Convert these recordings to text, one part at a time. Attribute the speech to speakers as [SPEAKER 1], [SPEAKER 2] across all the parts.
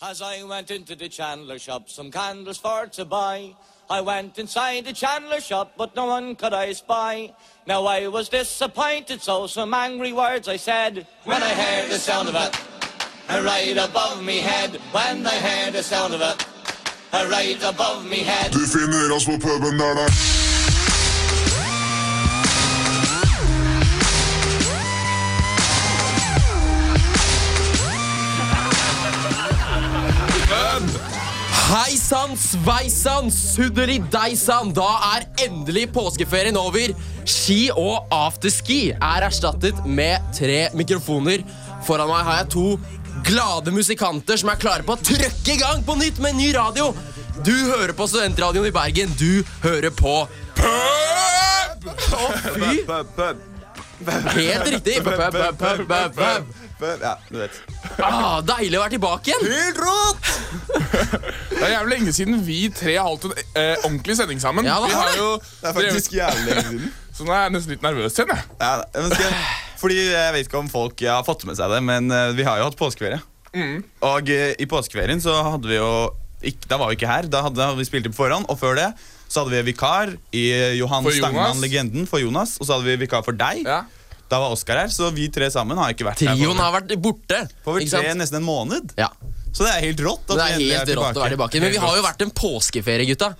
[SPEAKER 1] As I went into the chandler shop, some candles for to buy. I went inside the chandler shop, but no one could I spy. Now I was disappointed, so some angry words I said. When I heard the sound of it, uh, right above me head. When I heard the sound of it, uh, right above me head.
[SPEAKER 2] Du finner oss på puben der det
[SPEAKER 3] Hei sann, sveisann, sudderi deisann. Da er endelig påskeferien over. Ski og afterski er erstattet med tre mikrofoner. Foran meg har jeg to glade musikanter som er klare på å trøkke i gang på nytt med ny radio. Du hører på Studentradioen i Bergen. Du hører på Pub! Å, fy!
[SPEAKER 4] Pub, pub,
[SPEAKER 3] Helt riktig. Pub, pub, pub, pub, pub.
[SPEAKER 4] pub. Ja, du vet.
[SPEAKER 3] Ah, deilig å være tilbake igjen.
[SPEAKER 4] Helt rått!
[SPEAKER 5] Det er jævlig lenge siden vi tre har holdt en eh, ordentlig sending sammen.
[SPEAKER 3] Ja, det
[SPEAKER 5] vi
[SPEAKER 3] har
[SPEAKER 5] har
[SPEAKER 3] det.
[SPEAKER 5] jo
[SPEAKER 4] Det er faktisk jævlig lenge siden.
[SPEAKER 5] Så nå er jeg nesten litt nervøs igjen. jeg.
[SPEAKER 4] Ja, men skal jeg, fordi Jeg vet ikke om folk har fått med seg det, men eh, vi har jo hatt påskeferie.
[SPEAKER 5] Mm.
[SPEAKER 4] Og eh, i påskeferien så hadde vi jo ikke, Da var vi ikke her. Da hadde vi spilt inn på forhånd, og før det så hadde vi vikar i eh, Johan
[SPEAKER 5] For
[SPEAKER 4] Stangmann,
[SPEAKER 5] Jonas.
[SPEAKER 4] legenden, for Jonas. Og så hadde vi vikar for deg.
[SPEAKER 5] Ja.
[SPEAKER 4] Da var Oskar her, så vi tre sammen har ikke vært
[SPEAKER 3] Trioen
[SPEAKER 4] her
[SPEAKER 3] har vært borte.
[SPEAKER 4] på over
[SPEAKER 3] ikke
[SPEAKER 4] tre,
[SPEAKER 3] sant?
[SPEAKER 4] nesten en måned.
[SPEAKER 3] Ja.
[SPEAKER 4] Så det er helt rått.
[SPEAKER 3] Det er helt rått å være tilbake. Men vi har jo vært en påskeferie, gutta.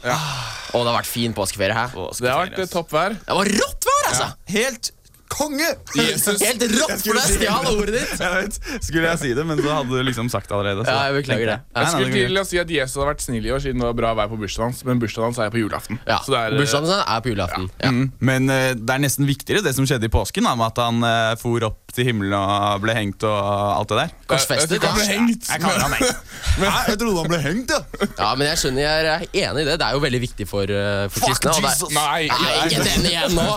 [SPEAKER 3] Og det har vært fin påskeferie her.
[SPEAKER 5] Det har vært eh, topp vær.
[SPEAKER 3] Det var rått vær, altså!
[SPEAKER 4] Helt konge!
[SPEAKER 5] Jesus.
[SPEAKER 3] Helt rått,
[SPEAKER 4] Jeg
[SPEAKER 3] for
[SPEAKER 4] skulle
[SPEAKER 3] det
[SPEAKER 4] si-
[SPEAKER 3] stjal ordet ditt.
[SPEAKER 4] Jeg vet, Skulle jeg si det, men så hadde du liksom sagt det allerede. Så.
[SPEAKER 3] Ja, jeg beklager det.
[SPEAKER 4] Nei,
[SPEAKER 5] Jeg
[SPEAKER 4] nei,
[SPEAKER 5] skulle
[SPEAKER 4] det går
[SPEAKER 5] til å si at Jesus hadde vært snill i år, siden det var bra vær på bursdagen hans. Men bursdagen hans er på julaften.
[SPEAKER 3] Ja,
[SPEAKER 5] Så det er, eh,
[SPEAKER 3] Bursdagen sin er på julaften. Ja.
[SPEAKER 4] greit. Men eh, det er nesten viktigere det som skjedde i påsken, da, med at han eh, for opp til himmelen og ble hengt og alt det der.
[SPEAKER 3] Korsfestet,
[SPEAKER 5] Jeg vet ikke om
[SPEAKER 3] ja.
[SPEAKER 5] det er hengt.
[SPEAKER 4] Jeg kaller han hengt. Nei, jeg trodde han ble hengt, ja.
[SPEAKER 3] ja, men jeg skjønner, jeg er enig i det. Det er jo veldig viktig for, eh, for
[SPEAKER 4] Fuck
[SPEAKER 3] kristne. og det
[SPEAKER 4] Jesus.
[SPEAKER 3] er-
[SPEAKER 5] Nei,
[SPEAKER 3] Nei, ikke den igjen nå!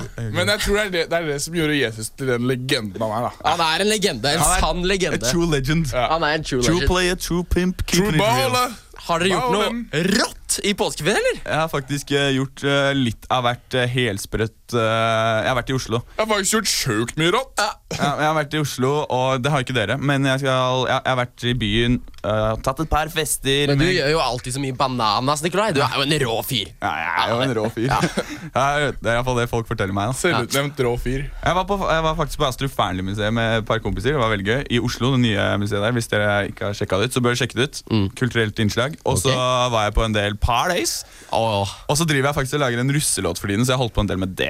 [SPEAKER 5] Men jeg tror det er det, det er det som gjorde Jesus til den legenden han er. da
[SPEAKER 3] Han er en legende. En
[SPEAKER 4] Han er
[SPEAKER 3] sann
[SPEAKER 4] A
[SPEAKER 3] legende.
[SPEAKER 4] true legend.
[SPEAKER 5] Ja.
[SPEAKER 3] Han er en true
[SPEAKER 4] True
[SPEAKER 3] legend.
[SPEAKER 4] play, a true pimp, keep
[SPEAKER 5] True
[SPEAKER 4] it real.
[SPEAKER 5] baller.
[SPEAKER 3] Har dere gjort
[SPEAKER 5] Ballin.
[SPEAKER 3] noe rått i påskeferien, eller?
[SPEAKER 4] Jeg har faktisk eh, gjort eh, litt av hvert eh, helsprøtt eh, Jeg har vært i Oslo.
[SPEAKER 5] Jeg har faktisk gjort sjukt mye rått.
[SPEAKER 4] Ja, jeg har vært i Oslo, og det har ikke dere. Men jeg, skal, jeg, jeg har vært i byen, øh, tatt et par fester
[SPEAKER 3] Men du
[SPEAKER 4] med-
[SPEAKER 3] gjør jo alltid så mye bananas, Nikolai. Du er jo en rå fyr.
[SPEAKER 4] ja, Jeg er jo en rå fyr. Jeg er- det er iallfall det folk forteller meg. Da.
[SPEAKER 5] Selvutnevnt rå fyr.
[SPEAKER 4] Jeg, var på, jeg var faktisk på Astrup Fearnley-museet med et par kompiser. Det var veldig gøy. I Oslo, det nye museet der. Hvis dere ikke har sjekka det ut, så bør dere sjekke det ut.
[SPEAKER 3] Mm.
[SPEAKER 4] Kulturelt innslag. Og så var jeg på en del parlays.
[SPEAKER 3] Åh.
[SPEAKER 4] Og så driver jeg faktisk og lager en russelåt for tiden, så jeg holdt på en del med det.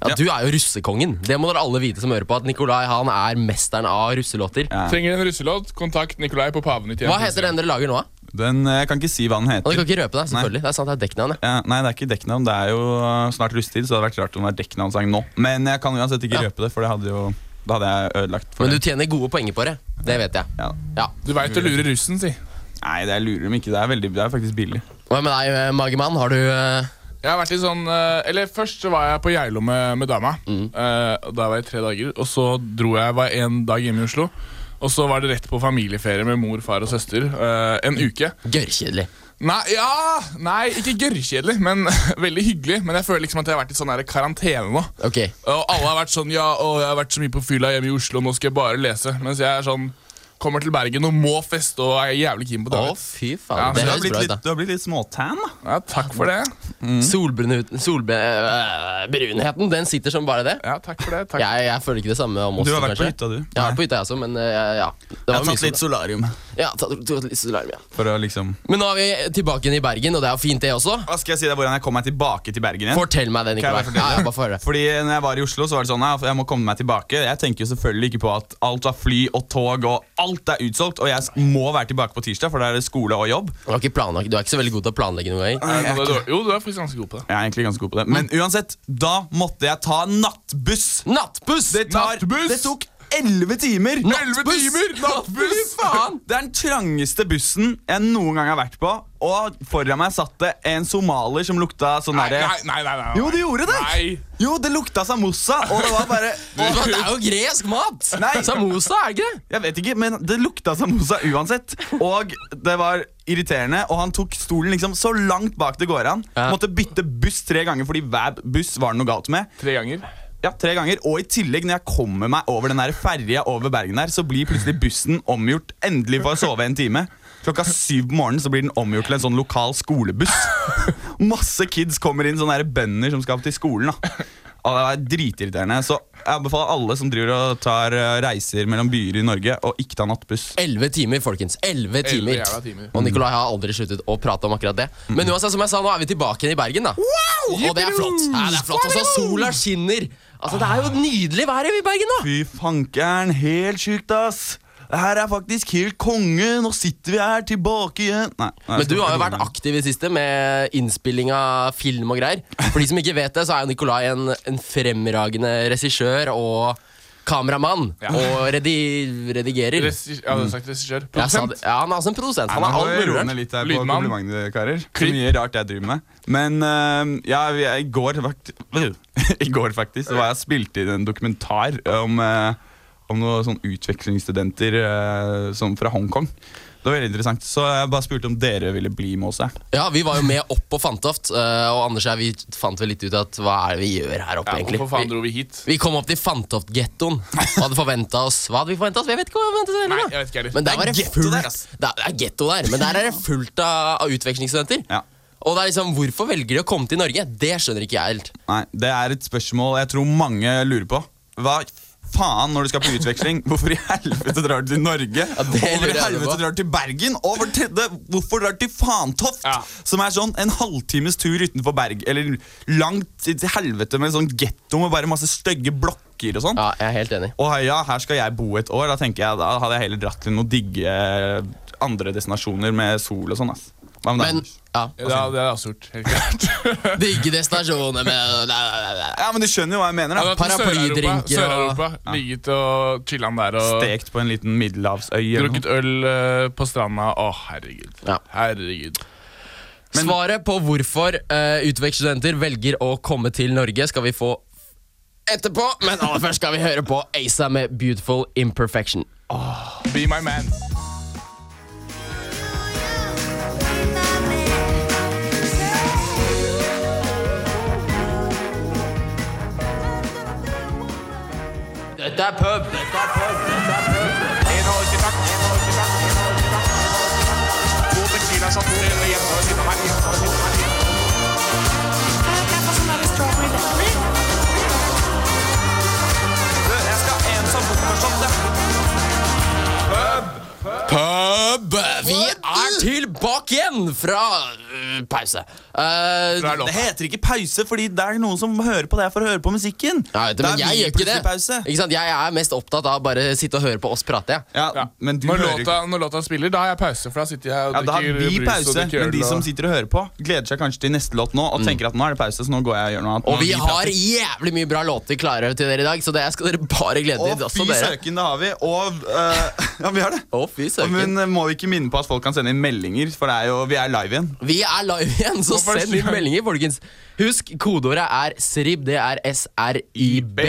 [SPEAKER 3] Ja, Du er jo russekongen. Det må dere alle vite som hører på. At Nikolai han er mesteren av russelåter.
[SPEAKER 5] Trenger en russelåt, kontakt Nikolai på paven i tjenesten.
[SPEAKER 3] Hva heter den dere lager nå? da?
[SPEAKER 4] Den, øh, jeg kan ikke si hva den
[SPEAKER 3] Og
[SPEAKER 4] heter.
[SPEAKER 3] dere kan ikke røpe det, selvfølgelig. Det er sant, det er dekknavn. ja.
[SPEAKER 4] Ja, nei, det er ikke dekknavn. Det er jo uh, snart rusttid, så det hadde vært rart om det var dekknavnsang nå. Men jeg kan uansett ikke
[SPEAKER 3] Ja.
[SPEAKER 4] røpe det, for det hadde jo, da hadde jeg ødelagt for
[SPEAKER 3] Men du
[SPEAKER 4] det.
[SPEAKER 3] tjener gode poenger på det. Det vet jeg.
[SPEAKER 4] Ja.
[SPEAKER 3] Ja.
[SPEAKER 5] Du veit å lure russen, si.
[SPEAKER 4] Nei, det er lurer dem ikke. Det er, veldig, det er faktisk billig.
[SPEAKER 3] Hva med deg, eh, magemann? Har du eh,
[SPEAKER 5] Jeg har vært i sånn eh, Eller først så var jeg på Geilo med, med dama. Eh, og Da var jeg i tre dager. Og så dro jeg var en dag hjemme i Oslo. Og så var det rett på familieferie med mor, far og søster. eh, en uke.
[SPEAKER 3] gørrkjedelig?
[SPEAKER 5] Nei, ja, nei ikke gørrkjedelig, men veldig hyggelig. Men jeg føler liksom at jeg har vært i sånn her karantene nå.
[SPEAKER 3] Ok.
[SPEAKER 5] Og alle har vært sånn Ja, å, jeg har vært så mye på fylla hjemme i Oslo, nå skal jeg bare lese. Mens jeg er sånn Kommer til Bergen og må feste og er jævlig keen på
[SPEAKER 3] Å,
[SPEAKER 5] dagen.
[SPEAKER 3] fy
[SPEAKER 5] Ja,
[SPEAKER 3] faen. Det
[SPEAKER 4] Du
[SPEAKER 5] men
[SPEAKER 4] har
[SPEAKER 3] høres
[SPEAKER 4] blitt
[SPEAKER 3] bra ut,
[SPEAKER 4] litt, mm.
[SPEAKER 3] da.
[SPEAKER 4] du har blitt litt småtan, da.
[SPEAKER 5] Ja, takk for det.
[SPEAKER 3] Solbrun, solbrunheten, den sitter som bare det.
[SPEAKER 5] Ja, takk for det. Takk.
[SPEAKER 3] Jeg, jeg føler ikke det samme om oss.
[SPEAKER 4] Du har vært på
[SPEAKER 3] kanskje.
[SPEAKER 4] hytta, du.
[SPEAKER 3] Jeg har vært på hytta, jeg også, men eh, ja. Det
[SPEAKER 4] Jeg
[SPEAKER 3] var
[SPEAKER 4] har
[SPEAKER 3] mye
[SPEAKER 4] tatt
[SPEAKER 3] sol,
[SPEAKER 4] litt solarium
[SPEAKER 3] da. Ja, tatt, tatt litt solarm, ja.
[SPEAKER 4] for å liksom
[SPEAKER 3] Men nå er vi tilbake igjen i Bergen, og det er jo fint, det også.
[SPEAKER 4] Hva skal jeg si deg hvordan jeg kom meg tilbake til Bergen igjen?
[SPEAKER 3] Fortell meg det,
[SPEAKER 4] Kan
[SPEAKER 3] Nikolai. Ja,
[SPEAKER 4] jeg bare fortelle?
[SPEAKER 3] ja, bare få høre.
[SPEAKER 4] Fordi når jeg var i Oslo, så var det sånn ja, jeg må komme meg tilbake. Jeg tenker jo selvfølgelig ikke på at alt var fly og tog og alt er utsolgt, og jeg s- må være tilbake på tirsdag, for da er det skole og jobb.
[SPEAKER 3] Du er ikke, planlagt, du er ikke så veldig god til å planlegge noen ganger.
[SPEAKER 5] Nei, nå er det dårlig. Jo, du er faktisk ganske god på det.
[SPEAKER 4] Jeg er egentlig ganske god på det.
[SPEAKER 5] Mm.
[SPEAKER 4] Men uansett, da måtte jeg ta nattbuss.
[SPEAKER 3] Nattbuss!
[SPEAKER 4] Det, tar,
[SPEAKER 5] Nattbuss!
[SPEAKER 4] det tok 11 timer.
[SPEAKER 5] Elleve timer!
[SPEAKER 4] Fy
[SPEAKER 5] Nattbuss!
[SPEAKER 4] faen! Det er den trangeste bussen jeg noen gang har vært på. Og foran meg satt det en somalier som lukta sånn
[SPEAKER 5] Nei,
[SPEAKER 4] derre
[SPEAKER 5] nei, nei, nei, nei.
[SPEAKER 4] Jo, det gjorde det!
[SPEAKER 5] Nei.
[SPEAKER 4] Jo, det lukta samosa, og det var bare
[SPEAKER 3] Men Det er jo gresk mat!
[SPEAKER 4] Nei.
[SPEAKER 3] Samosa, er det ikke det?
[SPEAKER 4] Jeg vet ikke, men det lukta samosa uansett. Og det var irriterende, og han tok stolen liksom så langt bak det går an.
[SPEAKER 3] Ja.
[SPEAKER 4] Måtte bytte buss tre ganger fordi hver buss var det noe galt med.
[SPEAKER 5] Tre ganger.
[SPEAKER 4] Ja, tre ganger. Og i tillegg, når jeg kommer meg over den der ferja over Bergen der, så blir plutselig bussen omgjort endelig for å sove en time. Klokka syv på morgenen så blir den omgjort til en sånn lokal skolebuss. Masse kids kommer inn, sånne der bønder som skal til skolen. da. Og det er dritirriterende. Så jeg anbefaler alle som driver og tar eh, reiser mellom byer i Norge, å ikke ta nattbuss.
[SPEAKER 3] Elleve timer, folkens. 11 timer.
[SPEAKER 5] jævla timer.
[SPEAKER 3] Og Nikolai har aldri sluttet å prate om akkurat det. Men
[SPEAKER 4] Mm.
[SPEAKER 3] uansett, som jeg sa, nå er vi tilbake igjen i Bergen, da. Og det er flott. Ja, det er flott. Og så sola skinner. Altså, Det er jo nydelig vær i Bergen, da.
[SPEAKER 4] Fy fankeren, helt sjukt, ass! Det her er faktisk helt konge! Nå sitter vi her tilbake igjen! Nei, nei,
[SPEAKER 3] Men du har jo
[SPEAKER 4] jeg skal
[SPEAKER 3] vært
[SPEAKER 4] ikke-
[SPEAKER 3] aktiv i det siste med innspilling av film og greier. For de som ikke vet det, så er jo Nikolai en, en fremragende regissør og kameramann. Og redi
[SPEAKER 5] Regi-
[SPEAKER 3] redigerer.
[SPEAKER 5] Jeg hadde sagt regissør.
[SPEAKER 3] Jeg sa
[SPEAKER 5] Produsent.
[SPEAKER 3] det- Ja, han er også en produsent. Han
[SPEAKER 4] Nei,
[SPEAKER 3] er
[SPEAKER 4] nå
[SPEAKER 3] alt
[SPEAKER 4] roer
[SPEAKER 3] mulig.
[SPEAKER 4] jeg ned litt her på
[SPEAKER 5] Lydmann.
[SPEAKER 4] komplimentene, karer. Så mye rart jeg driver med. Men eh, ja, vi- jeg, i går fakt I går faktisk så var jeg spilt inn en dokumentar om, eh, om noen sånn utvekslingsstudenter eh, som fra Hongkong. Det var veldig interessant, så jeg bare spurte om dere ville bli med oss. jeg.
[SPEAKER 3] Ja, vi var jo med opp på Fantoft, eh, og Anders og jeg vi fant vel litt ut at hva er det vi gjør her oppe,
[SPEAKER 5] Ja,
[SPEAKER 3] egentlig?
[SPEAKER 5] hvorfor faen dro vi hit?
[SPEAKER 3] Vi kom opp til Fantoft-gettoen og hadde forventa oss Hva hadde vi forventa oss? Jeg vet ikke hva vi forventet oss
[SPEAKER 5] Nei,
[SPEAKER 3] heller,
[SPEAKER 5] jeg vet ikke heller.
[SPEAKER 3] Men der
[SPEAKER 5] Det er
[SPEAKER 3] var det
[SPEAKER 5] ghetto
[SPEAKER 3] fullt
[SPEAKER 5] der, ass.
[SPEAKER 3] Det er- det er getto der, men der er det fullt av, av utvekslingsstudenter.
[SPEAKER 4] Ja.
[SPEAKER 3] Og det er liksom, hvorfor velger de å komme til Norge? Det skjønner ikke jeg helt.
[SPEAKER 4] Nei, det er et spørsmål jeg tror mange lurer på. Hva faen når du skal på utveksling? Hvorfor i helvete drar du til Norge?
[SPEAKER 3] det
[SPEAKER 4] Hvorfor
[SPEAKER 3] lurer jeg
[SPEAKER 4] i
[SPEAKER 3] på.
[SPEAKER 4] helvete drar du til Bergen? Og for det tredje, hvorfor drar du til Fantoft?
[SPEAKER 5] Ja.
[SPEAKER 4] Som er sånn en halvtimes tur utenfor Berg, eller langt til helvete med sånn getto med bare masse stygge blokker og sånn.
[SPEAKER 3] Ja, jeg er helt enig.
[SPEAKER 4] Og ja, her skal jeg bo et år. Da tenker jeg, da hadde jeg heller dratt til noen digge eh, andre destinasjoner med sol og sånn. ass. Hva med deg,
[SPEAKER 3] Men
[SPEAKER 4] Anders?
[SPEAKER 3] ja,
[SPEAKER 5] Ja, det hadde jeg også gjort. Helt klart.
[SPEAKER 3] digge destinasjoner med
[SPEAKER 4] Ja, men du skjønner jo hva jeg mener. da
[SPEAKER 5] Jeg hadde vært i
[SPEAKER 3] Paraplydrinker
[SPEAKER 5] Sør-Europa, Sør-Europa. Ligget og chillan der og
[SPEAKER 4] Stekt på en liten middelhavsøy. eller noe.
[SPEAKER 5] drukket øl eh, på stranda. Å, herregud.
[SPEAKER 3] Ja.
[SPEAKER 5] Herregud.
[SPEAKER 3] Svaret på hvorfor uh, utvekslingsstudenter velger å komme til Norge, skal vi få etterpå. Men aller først skal vi høre på Asa med 'Beautiful Imperfection'.
[SPEAKER 5] Be my man.
[SPEAKER 3] Dette er pub! Dette er pub. Pub! Vi er tilbake igjen fra eh, pause. Eh,
[SPEAKER 5] Det er lov.
[SPEAKER 4] Det heter ikke pause, fordi det er noen som hører på det for å høre på musikken.
[SPEAKER 3] ja, vet du,
[SPEAKER 4] Da
[SPEAKER 3] men
[SPEAKER 4] er
[SPEAKER 3] jeg
[SPEAKER 4] vi
[SPEAKER 3] gjør ikke det.
[SPEAKER 4] plutselig pause.
[SPEAKER 3] Ikke sant? Jeg er mest opptatt av bare å sitte og høre på oss prate. jeg.
[SPEAKER 4] Ja,
[SPEAKER 5] Ja.
[SPEAKER 4] men du
[SPEAKER 5] når,
[SPEAKER 4] hører
[SPEAKER 5] låta, når låta spiller, da har jeg pause, for da sitter jeg og
[SPEAKER 4] ja, da har
[SPEAKER 5] drikker
[SPEAKER 4] vi
[SPEAKER 5] brus og
[SPEAKER 4] pause,
[SPEAKER 5] drikker øl.
[SPEAKER 4] men de som
[SPEAKER 5] og...
[SPEAKER 4] sitter og hører på, gleder seg kanskje til neste låt nå og tenker at nå er det pause, så nå går jeg og gjør noe annet.
[SPEAKER 3] Mm. Og
[SPEAKER 4] Nå
[SPEAKER 3] vi har
[SPEAKER 4] prater.
[SPEAKER 3] jævlig mye bra låter klare til dere i dag, så det skal dere bare glede
[SPEAKER 4] Å,
[SPEAKER 3] dere
[SPEAKER 4] fy
[SPEAKER 3] også dere.
[SPEAKER 4] søken, det har vi. Og eh, Ja, vi har det.
[SPEAKER 3] Å, fy søken.
[SPEAKER 4] Men eh, må vi ikke minne på at folk kan sende inn meldinger, for det er jo, vi er live igjen.
[SPEAKER 3] Vi er live igjen, så
[SPEAKER 5] Og første
[SPEAKER 3] send inn
[SPEAKER 5] gang.
[SPEAKER 3] meldinger, folkens. Husk, kodeordet er SRIB. Det er SRIB.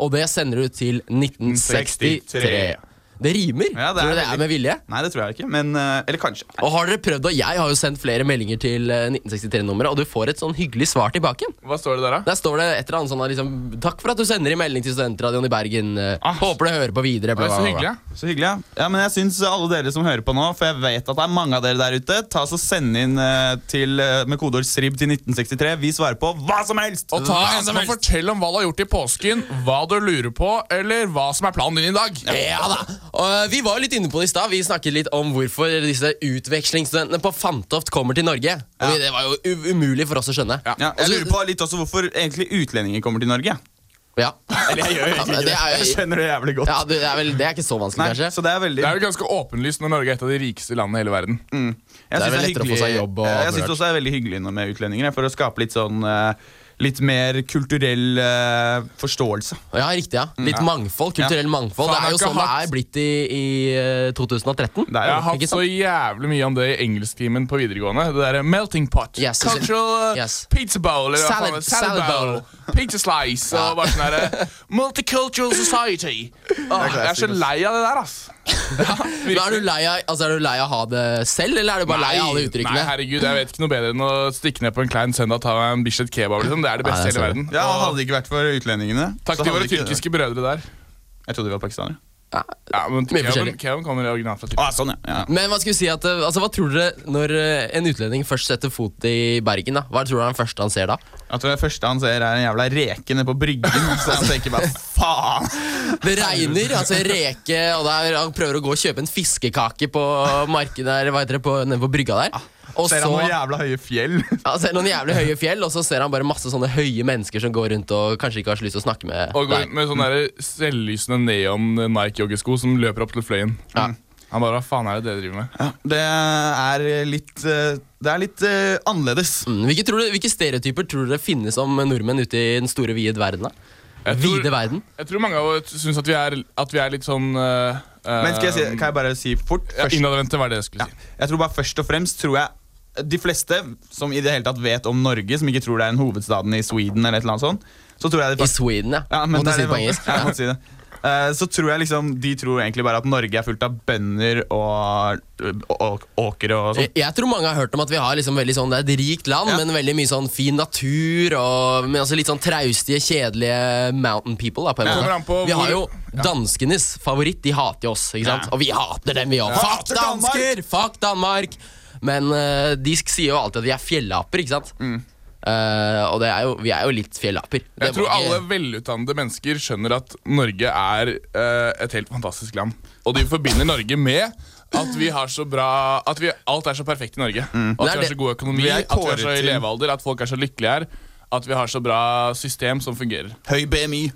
[SPEAKER 3] Og det sender du til 1963. Det rimer.
[SPEAKER 4] Ja,
[SPEAKER 3] Tror du
[SPEAKER 4] det er
[SPEAKER 3] det
[SPEAKER 4] veldig-
[SPEAKER 3] er med vilje?
[SPEAKER 4] Nei, det tror jeg ikke, men eh, Eller kanskje.
[SPEAKER 3] Og har dere prøvd, og Jeg har jo sendt flere meldinger til 1963-nummeret, og du får et sånn hyggelig svar tilbake.
[SPEAKER 5] Hva står det der, da?
[SPEAKER 3] Der står det et eller annet sånn her, liksom, Takk for at du sender i melding til Studentradioen i Bergen. eh, Håper du hører på videre.
[SPEAKER 5] Det
[SPEAKER 3] Bla,
[SPEAKER 5] er
[SPEAKER 3] bla,
[SPEAKER 5] så
[SPEAKER 3] bla, bla.
[SPEAKER 5] hyggelig. ja.
[SPEAKER 4] Ah. Så hyggelig, ja. ja. Men jeg syns alle dere som hører på nå, for jeg vet at det er mange av dere der ute, ta så send inn eh, til, eh, med kodeord SRIB til 1963. Vi svarer på hva som helst!
[SPEAKER 5] Og ta
[SPEAKER 4] Hva
[SPEAKER 5] en
[SPEAKER 4] som
[SPEAKER 5] som
[SPEAKER 4] helst.
[SPEAKER 5] fortell om hva du har gjort i påsken, hva du lurer på, eller hva som er planen din i dag.
[SPEAKER 3] Ja da. Og eh, vi var jo litt inne på det i stad. Vi snakket litt om hvorfor disse utvekslingsstudentene på Fantoft kommer til Norge. Og vi, det var jo u- umulig for oss å skjønne.
[SPEAKER 5] Ja.
[SPEAKER 4] Ja, jeg lurer på litt også hvorfor egentlig utlendinger kommer til Norge.
[SPEAKER 3] Ja.
[SPEAKER 4] Eller jeg gjør jo
[SPEAKER 3] Ja, men
[SPEAKER 4] egentlig
[SPEAKER 3] det
[SPEAKER 4] ikke
[SPEAKER 3] er
[SPEAKER 4] det.
[SPEAKER 3] jo-
[SPEAKER 4] Jeg skjønner det jævlig godt.
[SPEAKER 3] Ja, du, det, er vel, det er ikke så vanskelig,
[SPEAKER 4] Nei,
[SPEAKER 3] kanskje.
[SPEAKER 4] så det er veldig
[SPEAKER 5] Det er jo ganske åpenlyst når Norge er et av de rikeste landene i hele verden.
[SPEAKER 3] Mm.
[SPEAKER 4] Jeg
[SPEAKER 3] Det er
[SPEAKER 4] synes
[SPEAKER 3] vel lettere å få seg
[SPEAKER 4] hyggelig-
[SPEAKER 3] jobb og
[SPEAKER 4] Eh, Jeg
[SPEAKER 3] alt
[SPEAKER 4] syns
[SPEAKER 3] mulig
[SPEAKER 4] også det er veldig hyggelig nå med utlendinger, jeg, for å skape litt sånn eh, Litt mer kulturell eh, forståelse.
[SPEAKER 3] Ja, riktig, ja.
[SPEAKER 4] Mm.
[SPEAKER 3] Litt mangfold. Kulturell mangfold.
[SPEAKER 5] Faen,
[SPEAKER 3] Det er
[SPEAKER 5] jeg
[SPEAKER 3] jo
[SPEAKER 5] har ikke
[SPEAKER 3] sånn det
[SPEAKER 5] hatt-
[SPEAKER 3] er blitt i, i eh, 2013.
[SPEAKER 4] Det er
[SPEAKER 5] Jeg
[SPEAKER 4] jo
[SPEAKER 5] har hatt
[SPEAKER 3] Ikke
[SPEAKER 5] så
[SPEAKER 3] sant?
[SPEAKER 5] jævlig mye om det i engelsktimen på videregående. Det derre melting pot.
[SPEAKER 3] Yes,
[SPEAKER 5] Cultural uh,
[SPEAKER 3] yes.
[SPEAKER 5] pizza bowl. Eller
[SPEAKER 3] Salad-
[SPEAKER 5] hva faen, salad,
[SPEAKER 3] salad bowl.
[SPEAKER 5] bowl. Pizza slice og bare sånn herre Multicultural society. Åh, jeg er så lei av det der, ass.
[SPEAKER 3] Men er, du lei av, altså, er du lei av å ha det selv, eller er du bare lei av alle
[SPEAKER 5] nei,
[SPEAKER 3] uttrykkene?
[SPEAKER 5] herregud, jeg vet ikke noe bedre enn å stikke ned på en klein søndag og ta meg en Bislett kebab. liksom Det er det beste
[SPEAKER 3] Nei,
[SPEAKER 5] i hele
[SPEAKER 3] jeg ser
[SPEAKER 5] verden.
[SPEAKER 4] Ja,
[SPEAKER 5] Og
[SPEAKER 4] Hadde det ikke vært for utlendingene
[SPEAKER 5] Takk
[SPEAKER 4] så
[SPEAKER 5] til
[SPEAKER 4] hadde
[SPEAKER 5] våre
[SPEAKER 4] det ikke-
[SPEAKER 5] tyrkiske brødre der.
[SPEAKER 4] Jeg trodde de var pakistanere.
[SPEAKER 5] Ja, men
[SPEAKER 3] Mye
[SPEAKER 5] Kevin,
[SPEAKER 3] forskjellig.
[SPEAKER 5] Kevin kommer originalt fra Tyskland.
[SPEAKER 4] Å, ja, sånn, ja. ja.
[SPEAKER 3] Men hva skulle vi si at, eh, altså, hva tror dere når eh, en utlending først setter fot i Bergen? da? Hva tror dere er den første han ser da?
[SPEAKER 4] Jeg tror det første han ser, er en jævla reke nede på bryggen. Så han tenker bare faen!
[SPEAKER 3] Det regner, altså reke, og det er, han prøver å gå og kjøpe en fiskekake på markedet der, hva heter det, på, nede på brygga
[SPEAKER 5] Ah,
[SPEAKER 3] der. Og så
[SPEAKER 4] Ser han noen jævla høye fjell?
[SPEAKER 3] ja, ser noen jævlig høye fjell, og så ser han bare masse sånne høye mennesker som går rundt og kanskje ikke har så lyst til å snakke med
[SPEAKER 5] Og går
[SPEAKER 3] deg.
[SPEAKER 5] med sånne der selvlysende neon Nike-joggesko som løper opp til fløyen. Mm.
[SPEAKER 3] Ja.
[SPEAKER 5] Han bare Hva faen er det dere driver med?
[SPEAKER 4] Det er litt, eh, det er litt eh, annerledes.
[SPEAKER 3] Mm, Hvilke, tror dere- hvilke stereotyper tror dere finnes om nordmenn ute i den store, vide verden? da?
[SPEAKER 5] Jeg tror-
[SPEAKER 3] Vide verden?
[SPEAKER 5] Jeg tror mange av oss syns at, vi er- at vi er litt sånn uh,
[SPEAKER 4] Men skal jeg si, kan jeg bare si fort?
[SPEAKER 5] ja,
[SPEAKER 4] Først,
[SPEAKER 5] Innadvendte, hva er det jeg skulle si?
[SPEAKER 4] jeg tror bare først og fremst tror jeg de fleste som i det hele tatt vet om Norge, som ikke tror det er en hovedstaden i Sweden, eller et eller annet sånt, så tror jeg
[SPEAKER 3] I
[SPEAKER 4] de faktisk-
[SPEAKER 3] Sweden, ja.
[SPEAKER 4] Ja, men
[SPEAKER 3] Måtte
[SPEAKER 4] det
[SPEAKER 3] si
[SPEAKER 4] er
[SPEAKER 3] det på
[SPEAKER 4] det-
[SPEAKER 3] engelsk.
[SPEAKER 4] Ja, jeg måtte si det. Eh, så tror jeg liksom, De tror egentlig bare at Norge er fullt av bønder og, og, og åkere og sånn.
[SPEAKER 3] Jeg, jeg tror mange har hørt om at vi har liksom veldig sånn, det er et rikt land,
[SPEAKER 4] Ja.
[SPEAKER 3] men veldig mye sånn fin natur. Og, men altså litt sånn traustige, kjedelige mountain people. Da, på en
[SPEAKER 5] Ja. Kommer an
[SPEAKER 3] måte.
[SPEAKER 5] på
[SPEAKER 3] Vi har jo
[SPEAKER 5] hvor-
[SPEAKER 3] danskenes favoritt. De hater jo oss, ikke sant? og vi hater dem, vi òg. Fuck
[SPEAKER 4] Hater Danmark!
[SPEAKER 3] dansker! Fuck Danmark! Men eh, de sk- sier jo alltid at vi er fjellaper, ikke sant? Eh, og det er jo, vi er jo litt fjellaper. Det
[SPEAKER 5] Jeg tror
[SPEAKER 3] må ikke-
[SPEAKER 5] alle velutdannede mennesker skjønner at Norge er eh, et helt fantastisk land. Og de forbinder Norge med at vi har så bra At vi, alt er så perfekt i Norge.
[SPEAKER 3] Det
[SPEAKER 5] Og At
[SPEAKER 3] er
[SPEAKER 5] vi har
[SPEAKER 3] det-
[SPEAKER 5] så god økonomi,
[SPEAKER 4] Vi Mm. er
[SPEAKER 5] at vi har så
[SPEAKER 4] kåret
[SPEAKER 5] høy
[SPEAKER 4] til-
[SPEAKER 5] levealder, at folk er så lykkelige her. At vi har så bra system som fungerer.
[SPEAKER 4] Høy BMI.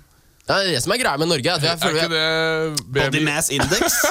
[SPEAKER 3] ja, det er det som er greia med Norge. er At vi er,
[SPEAKER 5] Er ikke
[SPEAKER 3] føler vi er,
[SPEAKER 5] det
[SPEAKER 4] Body
[SPEAKER 5] BMI?
[SPEAKER 4] mass index.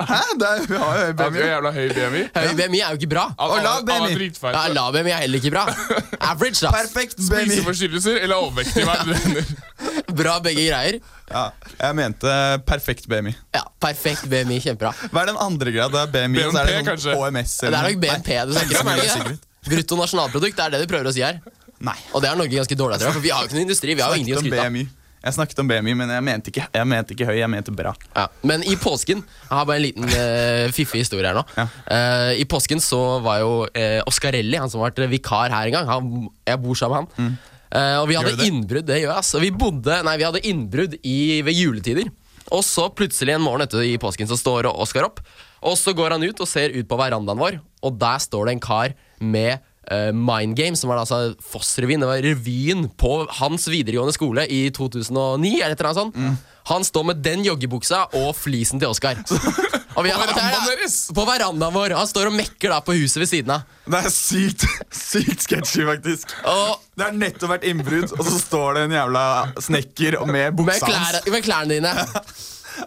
[SPEAKER 4] Hæ? Det er, vi har jo høy
[SPEAKER 5] At vi
[SPEAKER 4] BMI.
[SPEAKER 5] har jævla høy BMI?
[SPEAKER 3] høy BMI er jo ikke bra.
[SPEAKER 5] Alle-
[SPEAKER 4] Og lav
[SPEAKER 5] alle- alle er
[SPEAKER 4] BMI.
[SPEAKER 5] dritfeite.
[SPEAKER 3] Ja, Lav BMI er heller ikke bra. Average, da.
[SPEAKER 4] Perfekt BMI.
[SPEAKER 5] Spiseforstyrrelser eller overvektig? Hva er det du mener?
[SPEAKER 3] Bra begge greier.
[SPEAKER 4] Ja, jeg mente perfekt BMI.
[SPEAKER 3] Ja, Perfekt BMI, kjempebra.
[SPEAKER 4] Hva er den andre grad? Det er BMI, og så er det
[SPEAKER 5] BNP,
[SPEAKER 4] sånn
[SPEAKER 5] kanskje?
[SPEAKER 4] HMS.
[SPEAKER 3] Det
[SPEAKER 4] eller
[SPEAKER 3] er nok
[SPEAKER 4] noe.
[SPEAKER 3] BNP du snakker om.
[SPEAKER 4] Nei,
[SPEAKER 3] er det
[SPEAKER 4] det er
[SPEAKER 3] ikke?
[SPEAKER 4] sikkert.
[SPEAKER 3] Brutto nasjonalprodukt, det er det du prøver å si her.
[SPEAKER 4] Nei.
[SPEAKER 3] Og det er Norge ganske dårlig etter, for vi har jo ikke noen industri. vi har jo
[SPEAKER 4] Jeg
[SPEAKER 3] ingenting å
[SPEAKER 4] snakket om
[SPEAKER 3] skryte av.
[SPEAKER 4] BMI. Jeg snakket om BMI, men jeg mente ikke, jeg mente ikke høy, jeg mente bra.
[SPEAKER 3] Ja. Men i påsken Jeg har bare en liten eh, fiffig historie her nå.
[SPEAKER 4] Ja.
[SPEAKER 3] Eh, I påsken så var jo eh, Oscarelli, han som har vært vikar her en gang han, Jeg bor sammen med han. Eh, og vi
[SPEAKER 4] Mm. du
[SPEAKER 3] hadde
[SPEAKER 4] det?
[SPEAKER 3] innbrudd det gjør jeg, ass. Og vi, bodde, nei, vi hadde innbrudd i, ved juletider. Og så plutselig en morgen etter i påsken så står Oskar opp. Og så går han ut og ser ut på verandaen vår, og der står det en kar med eh, Mind Game, som var da altså Foss-revyen. Det var revyen på hans videregående skole i 2009. eller et eller annet sånt.
[SPEAKER 4] Mm.
[SPEAKER 3] Han står med den joggebuksa og flisen til Oskar. På
[SPEAKER 5] verandaen deres?
[SPEAKER 3] På verandaen vår. Han står og mekker da på huset ved siden av.
[SPEAKER 4] Det er sykt, sykt sketchy, faktisk.
[SPEAKER 3] Og
[SPEAKER 4] Det har nettopp vært innbrudd, og så står det en jævla snekker med
[SPEAKER 3] med,
[SPEAKER 4] buksa
[SPEAKER 3] klær,
[SPEAKER 4] hans.
[SPEAKER 3] med klærne dine.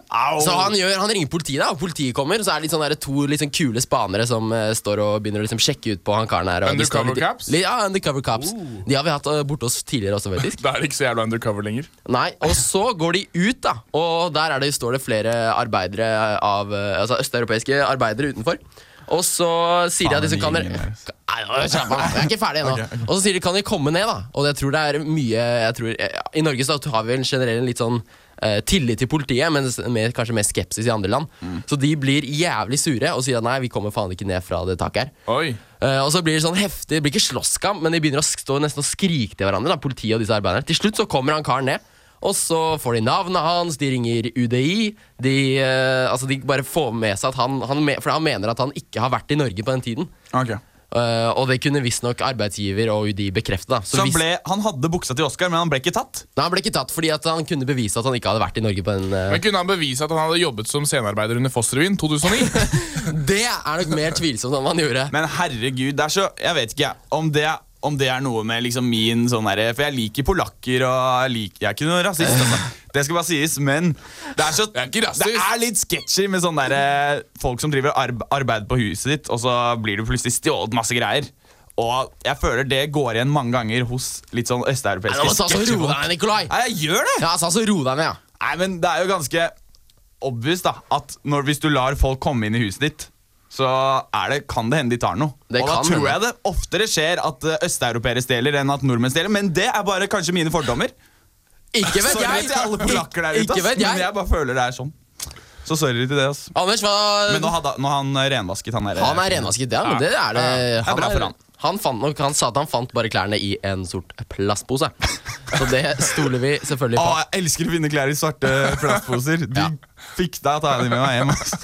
[SPEAKER 4] Au!
[SPEAKER 3] Så han, gjør, han ringer politiet, da, og politiet kommer. Og så er det litt sånn der, to litt sånn kule spanere som eh, står og begynner å liksom sjekke ut på han karen her. og de står
[SPEAKER 5] Undercover
[SPEAKER 3] litt-
[SPEAKER 5] cops? Oh.
[SPEAKER 3] Litt, ja, undercover cops. De har vi hatt eh, borte hos tidligere også, faktisk.
[SPEAKER 5] Da er det ikke så jævla undercover lenger.
[SPEAKER 3] Nei, Og så går de ut, da. Og der er det, står det flere arbeidere av eh, Altså østeuropeiske arbeidere utenfor. Og så sier de at de som kan
[SPEAKER 4] Faen,
[SPEAKER 3] dere-
[SPEAKER 4] gjengen deres.
[SPEAKER 3] Nei, nå, slapp av, Jeg er ikke ferdig ennå. Og så sier de kan de komme ned, da. Og jeg tror det er mye jeg tror, eh, I Norge så har vi vel generelt en litt sånn eh, tillit til politiet, men s- mer, kanskje mer skepsis i andre land. Så de blir jævlig sure og sier at nei, vi kommer faen ikke ned fra det taket her.
[SPEAKER 5] Oi.
[SPEAKER 3] Eh, og så blir det sånn heftig, det blir ikke slåsskamp, men de begynner å stå nesten og skrike til hverandre. da, politiet og disse arbeiderne. Til slutt så kommer han karen ned, og så får de navnet hans, de ringer UDI. De, eh, altså de bare får med seg at han, han, me- for han mener at han ikke har vært i Norge på den tiden.
[SPEAKER 4] Ok.
[SPEAKER 3] Eh, og det kunne visstnok arbeidsgiver og UDI bekrefte. da. Så
[SPEAKER 4] Så han,
[SPEAKER 3] hvis-
[SPEAKER 4] ble, han hadde buksa til Oscar, men han ble ikke tatt.
[SPEAKER 3] Nei, han ble ikke tatt fordi at han kunne bevise at han ikke hadde vært i Norge på den eh,
[SPEAKER 5] Men kunne han bevise at han hadde jobbet som scenearbeider under oh Foss-revyen 2009?
[SPEAKER 3] Det er nok mer tvilsomt om han gjorde.
[SPEAKER 4] Men herregud, det er så Jeg vet ikke jeg, om det om det er noe med liksom min sånn derre For jeg liker polakker, og jeg, liker, jeg er ikke noe rasist. Altså. Det skal bare sies, men det er, så,
[SPEAKER 5] Jeg er ikke rasist.
[SPEAKER 4] det er litt sketchy med sånn derre folk som driver arb arbeid på huset ditt, og så blir du plutselig stjålet masse greier. Og jeg føler det går igjen mange ganger hos litt
[SPEAKER 3] Nei, nå
[SPEAKER 4] sånn
[SPEAKER 3] må
[SPEAKER 4] østeuropeiske
[SPEAKER 3] du ta så
[SPEAKER 4] sketchy
[SPEAKER 3] ro
[SPEAKER 4] folk.
[SPEAKER 3] deg, Nikolai!
[SPEAKER 4] Nei, jeg gjør det!
[SPEAKER 3] Ja, altså, altså ro deg ned, ja.
[SPEAKER 4] Nei, men det er jo ganske obvious da At når, hvis du lar folk komme inn i huset ditt Så er det, kan det hende de tar noe
[SPEAKER 3] Det
[SPEAKER 4] Og da
[SPEAKER 3] kan
[SPEAKER 4] tror
[SPEAKER 3] hende.
[SPEAKER 4] jeg det oftere skjer at eh, østeuropeere stjeler Enn at nordmenn stjeler Men det er bare kanskje mine fordommer
[SPEAKER 3] Ikke vet
[SPEAKER 4] Sorry
[SPEAKER 3] jeg!
[SPEAKER 4] til alle polakker der ute
[SPEAKER 3] Ikke
[SPEAKER 4] ass,
[SPEAKER 3] vet
[SPEAKER 4] Men
[SPEAKER 3] jeg.
[SPEAKER 4] jeg bare føler det er sånn Så sorry til det ass
[SPEAKER 3] Anders, hva
[SPEAKER 4] Men nå har han eh, renvasket han der eh,
[SPEAKER 3] Han er renvasket, ja, men det er det.
[SPEAKER 4] Ja, det er bra for han.
[SPEAKER 3] Han, fant nok, han sa at han fant bare klærne i en sort plastpose. Så det stoler vi selvfølgelig
[SPEAKER 4] Å,
[SPEAKER 3] på.
[SPEAKER 4] jeg elsker å finne klær i svarte plastposer. Du
[SPEAKER 3] Ja.
[SPEAKER 4] fikk deg ta de med meg hjem. ass.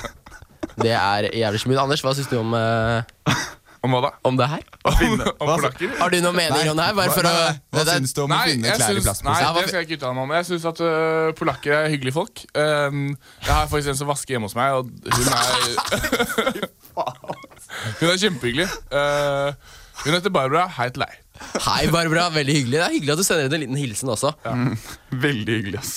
[SPEAKER 3] Det er jævlig smooth. Anders, hva syns du om, eh,
[SPEAKER 5] Om hva da?
[SPEAKER 3] om det her?
[SPEAKER 4] Finne-
[SPEAKER 5] Om polakker?
[SPEAKER 3] Har du noen mening om det her? Bare for å
[SPEAKER 4] Nei, Hva
[SPEAKER 3] det,
[SPEAKER 4] syns du om å
[SPEAKER 5] Nei,
[SPEAKER 4] finne klær
[SPEAKER 5] jeg
[SPEAKER 4] i
[SPEAKER 5] syns, nei,
[SPEAKER 4] plastposer?
[SPEAKER 3] Ja, hva
[SPEAKER 5] det
[SPEAKER 3] fi-
[SPEAKER 5] skal jeg ikke uttale meg om. Jeg syns at øh, polakker er hyggelige folk. Um, jeg har faktisk en som vasker hjemme hos meg, og hun er Hun er kjempehyggelig. Uh, hun heter Barbara. Hei til deg.
[SPEAKER 3] Hei, Barbara. Veldig hyggelig. Det er hyggelig at du sender inn en liten hilsen også.
[SPEAKER 4] Veldig hyggelig, ass.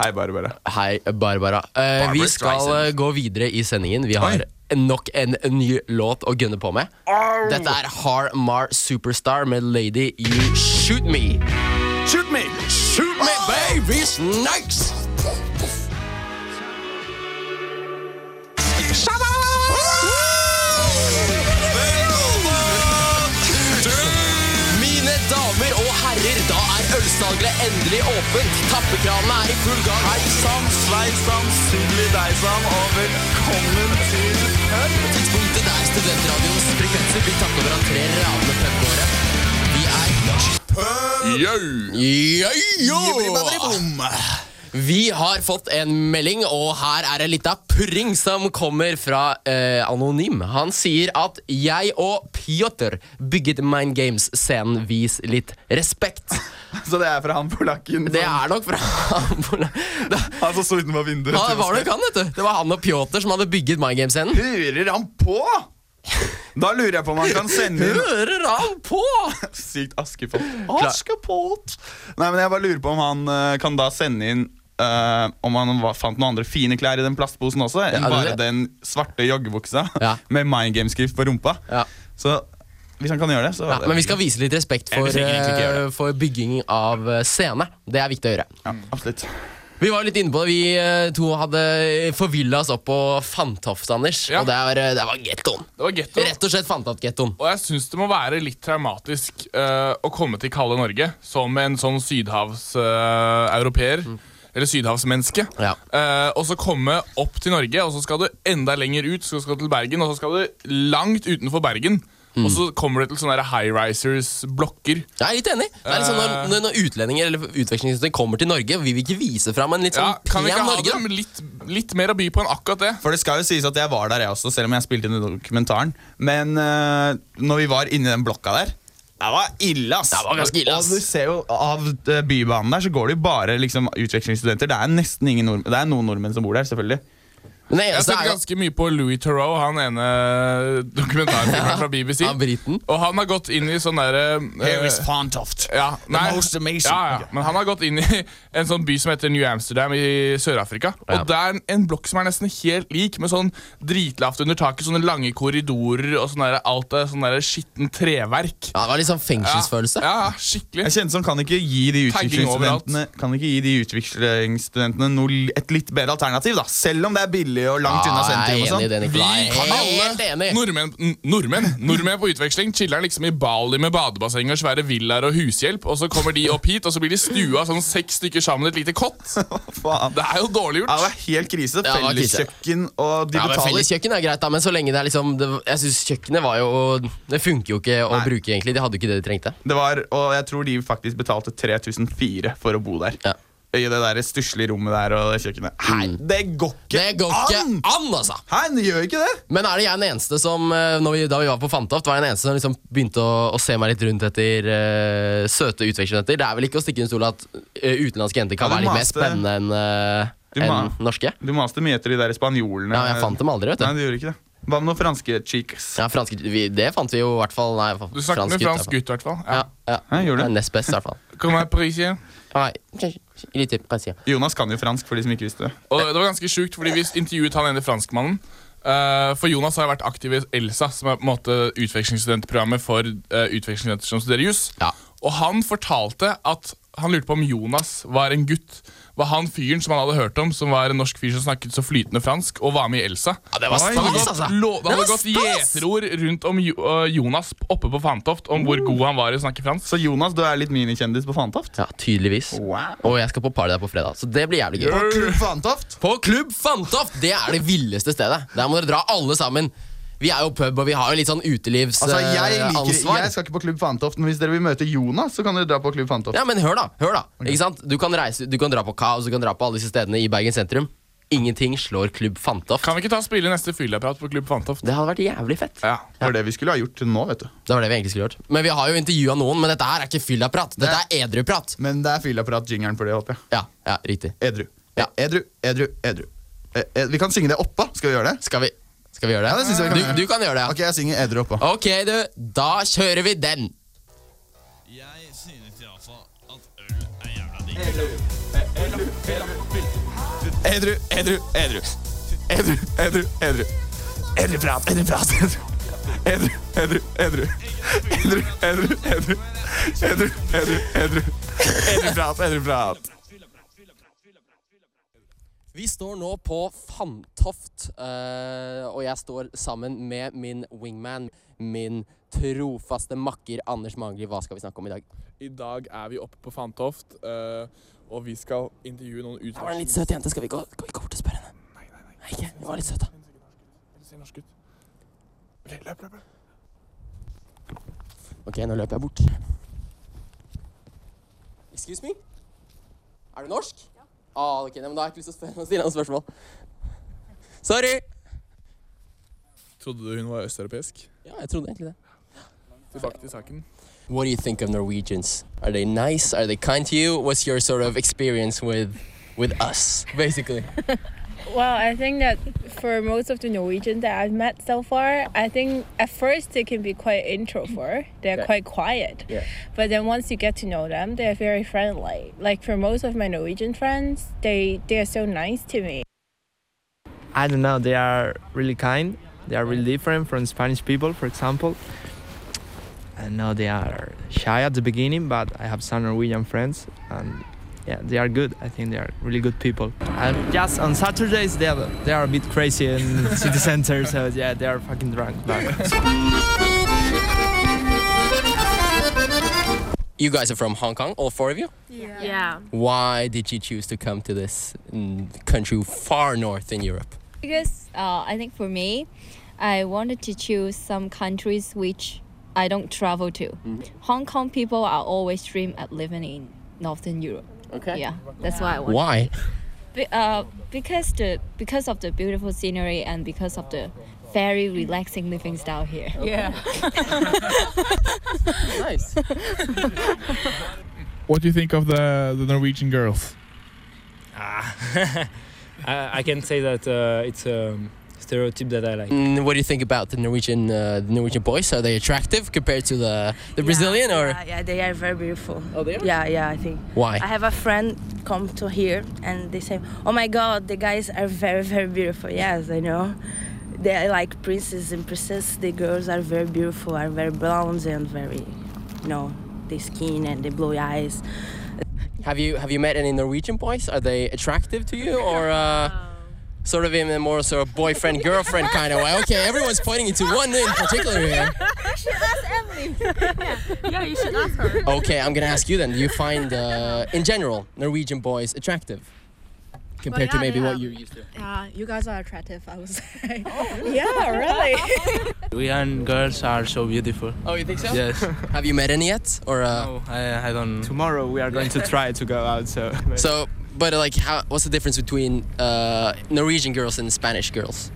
[SPEAKER 4] Hei, Barbara.
[SPEAKER 3] Hei, Barbara. Eh, vi skal
[SPEAKER 4] Streisand.
[SPEAKER 3] eh, gå videre i sendingen. Vi har nok en ny låt å gunne på med. Dette er Har Mar Superstar med Lady You Shoot Me.
[SPEAKER 4] Shoot me!
[SPEAKER 3] Shoot me, baby snakes! Mine damer og herrer, da er ølsalget endelig åpent. Tappekranene er i full gang. Hei sann,
[SPEAKER 4] Sveitsan, sydlig deisan, og velkommen til
[SPEAKER 3] Tidspunktet der studentradioens frekvenser blir tatt over av tre radene pubgåere. Vi er Yo! Vi har fått en melding, og her er en lita purring som kommer fra eh, Anonym. Han sier at 'jeg og Pjotr bygget Mind Games-scenen. Vis litt respekt'.
[SPEAKER 4] Så det er fra han polakken?
[SPEAKER 3] Det er nok fra han hvor- Da-
[SPEAKER 4] Han som sto utenfor vinduet.
[SPEAKER 3] Ja, det var nok han, vet du. Det var han og Pjotr som hadde bygget Mind Games-scenen.
[SPEAKER 4] Hører han på?! Da lurer jeg på om han kan sende inn
[SPEAKER 3] Hører han på?!
[SPEAKER 4] Sykt Askepott. Askepott! Nei, men jeg bare lurer på om han eh, kan da sende inn eh, om han var, fant noen andre fine klær i den plastposen også, enn
[SPEAKER 3] Ja, det-
[SPEAKER 4] bare den svarte joggebuksa
[SPEAKER 3] Ja.
[SPEAKER 4] med Mind Game-skrift på rumpa.
[SPEAKER 3] Ja.
[SPEAKER 4] Så hvis han kan gjøre det, så
[SPEAKER 3] Ja, men vi skal vise litt respekt for,
[SPEAKER 4] Jeg vil egentlig ikke gjøre
[SPEAKER 3] eh, for bygging av eh, scene. Det er viktig å gjøre.
[SPEAKER 4] Ja, absolutt.
[SPEAKER 3] Vi var litt inne på det. Vi eh, to hadde forvilla oss opp på Fantoft, Anders.
[SPEAKER 5] Ja.
[SPEAKER 3] Og det var, det var gettoen.
[SPEAKER 5] Det var getto.
[SPEAKER 3] Rett og slett Fantoft-gettoen.
[SPEAKER 5] Og jeg syns det må være litt traumatisk øh, å komme til kalde Norge som en sånn sydhavseuropeer. eller sydhavsmenneske.
[SPEAKER 3] Mm. Ja.
[SPEAKER 5] Eh, og så komme opp til Norge, og så skal du enda lenger ut. Så skal du til Bergen, og så skal du langt utenfor Bergen.
[SPEAKER 3] Mm.
[SPEAKER 5] Og så kommer du til sånne high-risers-blokker.
[SPEAKER 3] Jeg er litt enig. Det er litt sånn
[SPEAKER 5] Eh.
[SPEAKER 3] når, når- når utlendinger eller utvekslingsstudenter kommer til Norge, vi vil ikke vise fram en litt
[SPEAKER 5] Ja,
[SPEAKER 3] sånn
[SPEAKER 5] kan
[SPEAKER 3] pen
[SPEAKER 5] vi ikke ha
[SPEAKER 3] Norge. da?
[SPEAKER 5] dem litt, litt mer å by på enn akkurat det?
[SPEAKER 4] For det skal jo sies at jeg var der, jeg også, selv om jeg spilte inn i dokumentaren. Men eh, når vi var inni den blokka der det var ille, ass!
[SPEAKER 3] Det var ganske ille, ass.
[SPEAKER 4] Og du ser jo Av eh, bybanen der så går det jo bare liksom, utvekslingsstudenter. Det er nesten ingen nordmenn Det er noen nordmenn som bor der, selvfølgelig.
[SPEAKER 3] Men altså, det eneste
[SPEAKER 5] Jeg har sett
[SPEAKER 3] er jo
[SPEAKER 5] ganske mye på Louis Theroux, han ene dokumentarfilmeren fra BBC.
[SPEAKER 3] av briten.
[SPEAKER 5] Og han har gått inn i sånn derre
[SPEAKER 4] Fantoft.
[SPEAKER 5] Eh. ja, nei,
[SPEAKER 4] most amazing.
[SPEAKER 5] Ja, ja. Men han har gått inn i en sånn by som heter New Amsterdam i Sør-Afrika.
[SPEAKER 3] Ja.
[SPEAKER 5] Og det er en, en blokk som er nesten helt lik, med sånn dritlavt under taket, sånne lange korridorer og sånn der, alt det sånn der skittent treverk.
[SPEAKER 3] Ja, det var litt sånn fengselsfølelse.
[SPEAKER 5] Ja, ja, skikkelig.
[SPEAKER 4] Jeg kjenner som kan ikke gi de
[SPEAKER 5] Tagging overalt.
[SPEAKER 4] utvekslingsstudentene Kan ikke gi de utvekslingsstudentene noe, li- et litt bedre alternativ, da. Selv om det er billig og langt unna
[SPEAKER 3] Ja, Ah, jeg er enig
[SPEAKER 4] sentrum.
[SPEAKER 3] i
[SPEAKER 4] og
[SPEAKER 3] det,
[SPEAKER 4] sånn.
[SPEAKER 3] Nikolai.
[SPEAKER 5] Vi kan
[SPEAKER 3] Helt enig.
[SPEAKER 5] alle nordmenn, n- nordmenn, nordmenn på utveksling chiller'n liksom i Bali med badebasseng og svære villaer og hushjelp, og så kommer de opp hit, og så blir de stua sånn seks stykker sammen i et lite kott.
[SPEAKER 4] Faen.
[SPEAKER 5] Det er jo dårlig
[SPEAKER 4] Ja, det
[SPEAKER 5] gjort.
[SPEAKER 4] var helt krise.
[SPEAKER 3] Ja, det var krise.
[SPEAKER 4] Felleskjøkken, og de
[SPEAKER 3] Ja, men
[SPEAKER 4] betaler
[SPEAKER 3] Felleskjøkken er greit, da, men så lenge det er liksom det, Jeg synes kjøkkenet var jo Det funker jo ikke å
[SPEAKER 4] Nei.
[SPEAKER 3] bruke, egentlig. De hadde jo ikke det de trengte.
[SPEAKER 4] Det var, og jeg tror de faktisk betalte 3004 for å bo der.
[SPEAKER 3] Ja. Mm.
[SPEAKER 4] I det der stusslige rommet der og det kjøkkenet. Hei, det går ikke
[SPEAKER 3] Det går ikke
[SPEAKER 4] an!
[SPEAKER 3] an, altså!
[SPEAKER 4] Hei, det gjør ikke det!
[SPEAKER 3] Men er det jeg den eneste som eh, når vi, Da vi var på Fantoft, var jeg den eneste som liksom begynte å, å se meg litt rundt etter eh, søte utvekslingsjenter? Det er vel ikke å stikke under stol at eh, utenlandske jenter kan
[SPEAKER 4] Ja, du
[SPEAKER 3] være litt mer
[SPEAKER 4] maste.
[SPEAKER 3] spennende enn
[SPEAKER 4] Du
[SPEAKER 3] eh,
[SPEAKER 4] ma-
[SPEAKER 3] enn norske?
[SPEAKER 4] Du maste mye etter de der spanjolene.
[SPEAKER 3] Ja, jeg fant dem aldri, vet
[SPEAKER 4] Nei,
[SPEAKER 3] du.
[SPEAKER 4] det gjorde ikke det. Hva med noen franske cheeks?
[SPEAKER 3] Ja, franske, vi, det fant vi jo i hvert fall. Nei, fa-
[SPEAKER 5] Du snakker med
[SPEAKER 3] gutt, i
[SPEAKER 5] fransk
[SPEAKER 3] hvert fall.
[SPEAKER 5] gutt, i hvert fall.
[SPEAKER 3] Ja,
[SPEAKER 5] Ja.
[SPEAKER 3] ja.
[SPEAKER 4] Hæ, gjorde du?
[SPEAKER 3] Det er Nest best, i hvert fall.
[SPEAKER 5] Kom her, Parisier.
[SPEAKER 3] Nei, kanskje litt til, kanskje.
[SPEAKER 4] Jonas kan jo fransk, for de som ikke visste det.
[SPEAKER 5] Og det var ganske sjukt, fordi vi intervjuet han ene franskmannen. Eh, for Jonas har jo vært aktiv i ELSA, som er på en måte utvekslingsstudentprogrammet for eh, utvekslingsstudenter som studerer jus.
[SPEAKER 3] Ja.
[SPEAKER 5] Og han fortalte at han lurte på om Jonas var en gutt. Var han fyren som han hadde hørt om, som var en norsk fyr som snakket så flytende fransk og var med i ELSA?
[SPEAKER 3] det var
[SPEAKER 5] Det hadde
[SPEAKER 3] stas,
[SPEAKER 5] gått,
[SPEAKER 3] altså.
[SPEAKER 5] lo, det hadde
[SPEAKER 3] var
[SPEAKER 5] gått gjeterord rundt om jo, eh, Jonas oppe på Fantoft om
[SPEAKER 3] Oh.
[SPEAKER 5] hvor god han var i å snakke fransk.
[SPEAKER 4] Så Jonas, du er litt minikjendis på Fantoft?
[SPEAKER 3] Ja, tydeligvis.
[SPEAKER 4] Wow.
[SPEAKER 3] Og jeg skal på party der på fredag, så det blir jævlig gøy.
[SPEAKER 4] Fantoft?
[SPEAKER 3] På Klubb Fantoft! Det er det villeste stedet. Der må dere dra alle sammen. Vi er jo pub, og vi har jo litt sånn eh,
[SPEAKER 6] Altså, jeg,
[SPEAKER 3] utelivsansvar.
[SPEAKER 6] liker, jeg skal ikke på Klubb Fantoften. Hvis dere vil møte Jonas, så kan dere dra på Klubb Fantoften.
[SPEAKER 3] Ja, men hør da, hør da Ikke sant? Du kan reise, du kan dra på Kaos, du kan dra på alle disse stedene i Bergen sentrum Ingenting slår Klubb Fantoft
[SPEAKER 5] Kan vi ikke ta og spille neste fyllaprat på Klubb Fantoft?
[SPEAKER 3] Det hadde vært jævlig fett
[SPEAKER 5] Ja.
[SPEAKER 6] Det var det vi skulle ha gjort nå, vet du.
[SPEAKER 3] Det var det vi egentlig skulle gjort Men vi har jo intervjuet noen, men dette her er ikke fyllaprat Dette er edruprat
[SPEAKER 6] Men det er fyllapparat-jingeren for det, håper jeg.
[SPEAKER 3] Ja, ja, riktig
[SPEAKER 6] Edru.
[SPEAKER 3] Ja.
[SPEAKER 4] Eh,
[SPEAKER 6] Edru, edru, edru. Eh, eh, vi kan synge det oppå. Skal vi gjøre det?
[SPEAKER 3] Skal vi, skal vi gjøre det?
[SPEAKER 6] Ja, det synes jeg vi kan gjøre.
[SPEAKER 3] du, du kan gjøre det, ja
[SPEAKER 6] Ok, jeg synger edru oppå.
[SPEAKER 3] Ok du, da kjører vi den
[SPEAKER 4] Edru, edru, edru. Edru, edru, edru. Edru prat, edru prat. Edru, edru, edru. Edru, edru, edru. Edru, edru, edru. Edru prat, edru prat.
[SPEAKER 3] Vi står nå på Fantoft, eh, og jeg står sammen med min wingman, min trofaste makker Anders Mangli. Hva skal vi snakke om i dag?
[SPEAKER 7] I dag er vi oppe på Fantoft, eh, og vi skal intervjue noen
[SPEAKER 3] Det var en
[SPEAKER 7] utvekslinger.
[SPEAKER 3] litt søt jente. Skal vi gå, skal vi gå bort og spørre henne? Nei, nei, nei. ikke? Hun var litt søt, da.
[SPEAKER 7] Ser norsk ut. Ok, løp, løp, løp.
[SPEAKER 3] Ok, nå løper jeg bort. Excuse me? Er du norsk? Ja. Ah, ok, nei, men Da har jeg ikke lyst til å spørre, stille noen spørsmål. Sorry!
[SPEAKER 7] Trodde du hun var østeuropeisk?
[SPEAKER 3] Ja, jeg trodde egentlig det.
[SPEAKER 7] Tilbake til saken.
[SPEAKER 3] What do you think of Norwegians? Are they nice? Are they kind to you? What's your sort of experience with with us, basically?
[SPEAKER 8] Well, I think that for most of the Norwegians that I've met so far, I think at first they can be quite introvert. They're quite quiet.
[SPEAKER 7] Yeah.
[SPEAKER 8] But then once you get to know them, they're very friendly. Like for most of my Norwegian friends, they they are so nice to me.
[SPEAKER 9] I don't know, they are really kind. They are really different from Spanish people, for example. I know they are shy at the beginning, but I have some Norwegian friends and yeah, they are good. I think they are really good people. And just on Saturdays, they are, they are a bit crazy in city center, so yeah, they are fucking drunk. But
[SPEAKER 3] You guys are from Hong Kong, all four of you.
[SPEAKER 8] Yeah.
[SPEAKER 3] Why did you choose to come to this mm, country far north in Europe?
[SPEAKER 10] Because uh, I think for me, I wanted to choose some countries which I don't travel to. Hong Kong people are always dream at living in Northern Europe.
[SPEAKER 3] Okay.
[SPEAKER 10] Yeah, that's why I want.
[SPEAKER 3] Why?
[SPEAKER 10] Be- uh, because the because of the beautiful scenery and because of the very relaxing living style here.
[SPEAKER 3] Nice.
[SPEAKER 5] What do you think of the, the Norwegian girls?
[SPEAKER 11] I, I can say that uh, it's a stereotype that I like.
[SPEAKER 3] Mm, what do you think about the Norwegian uh, the Norwegian boys? Are they attractive compared to the the Brazilian or?
[SPEAKER 8] yeah, they are very beautiful.
[SPEAKER 3] Oh, they are?
[SPEAKER 8] Yeah, yeah, I think.
[SPEAKER 3] Why?
[SPEAKER 8] I have a friend come to here and they say, "Oh my God, the guys are very, very beautiful." Yes, I know. They are like princes and princesses. The girls are very beautiful, are very blonde and very, you know, the skin and the blue eyes.
[SPEAKER 3] Have you have you met any Norwegian boys? Are they attractive to you or uh, sort of in a more sort of boyfriend girlfriend kind of way? Okay, everyone's pointing into one in particular here.
[SPEAKER 8] Yeah, you should ask her.
[SPEAKER 3] Okay, I'm gonna ask you then. Do you find uh, in general Norwegian boys attractive compared
[SPEAKER 8] yeah,
[SPEAKER 3] to maybe
[SPEAKER 8] they
[SPEAKER 3] what
[SPEAKER 8] are.
[SPEAKER 3] you're used to?
[SPEAKER 8] Yeah, you guys are attractive. I would say.
[SPEAKER 3] Oh,
[SPEAKER 8] yeah, really.
[SPEAKER 9] we and girls are so beautiful.
[SPEAKER 3] Oh, you think so?
[SPEAKER 9] Yes.
[SPEAKER 3] Have you met any yet? Or uh,
[SPEAKER 9] I, I don't. Tomorrow we are going to try to go out. So.
[SPEAKER 3] so, but uh, like, how, what's the difference between uh, Norwegian girls and Spanish girls?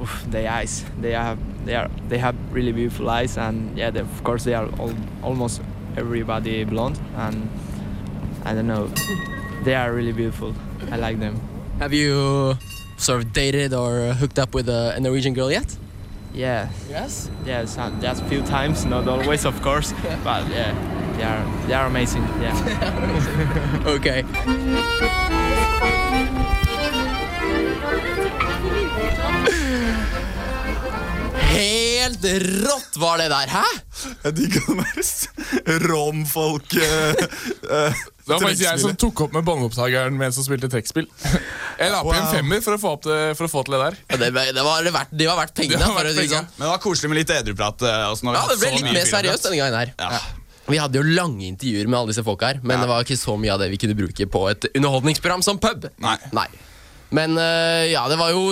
[SPEAKER 9] Oof, the eyes they have they are they have really beautiful eyes and yeah they, of course they are all, almost everybody blonde and i don't know they are really beautiful i like them
[SPEAKER 3] Have you sort of dated or hooked up with uh, a, a Norwegian girl yet?
[SPEAKER 9] yeah
[SPEAKER 3] Yes.
[SPEAKER 9] yeah some, just few times not always of course but yeah they are they are amazing yeah
[SPEAKER 3] Okay. Helt rått var det der, hæ?
[SPEAKER 4] Jeg digger den der s- romfolk eh, eh,
[SPEAKER 5] Det var faktisk jeg som
[SPEAKER 4] trekkspillet.
[SPEAKER 5] tok opp med båndopptakeren mens hun spilte trekkspill. Jeg la på en
[SPEAKER 4] Wow.
[SPEAKER 5] femmer for å få, opp det, for å få til det der.
[SPEAKER 3] Ja, Det, det, var, det, verdt, det var verdt pengene.
[SPEAKER 5] Det var
[SPEAKER 3] for å
[SPEAKER 5] verdt
[SPEAKER 3] si det
[SPEAKER 5] pengene.
[SPEAKER 3] sånn.
[SPEAKER 4] Men det var koselig med litt edruprat. eh, også når vi
[SPEAKER 3] Ja, det
[SPEAKER 4] har hatt
[SPEAKER 3] ble
[SPEAKER 4] så
[SPEAKER 3] litt mer
[SPEAKER 4] mye filmprat.
[SPEAKER 3] seriøst denne gangen her.
[SPEAKER 4] Ja.
[SPEAKER 3] Vi hadde jo lange intervjuer med alle disse folka her, men det var ikke så mye av det vi kunne bruke på et underholdningsprogram som pub.
[SPEAKER 4] Nei.
[SPEAKER 3] Men øh, eh, ja, det var jo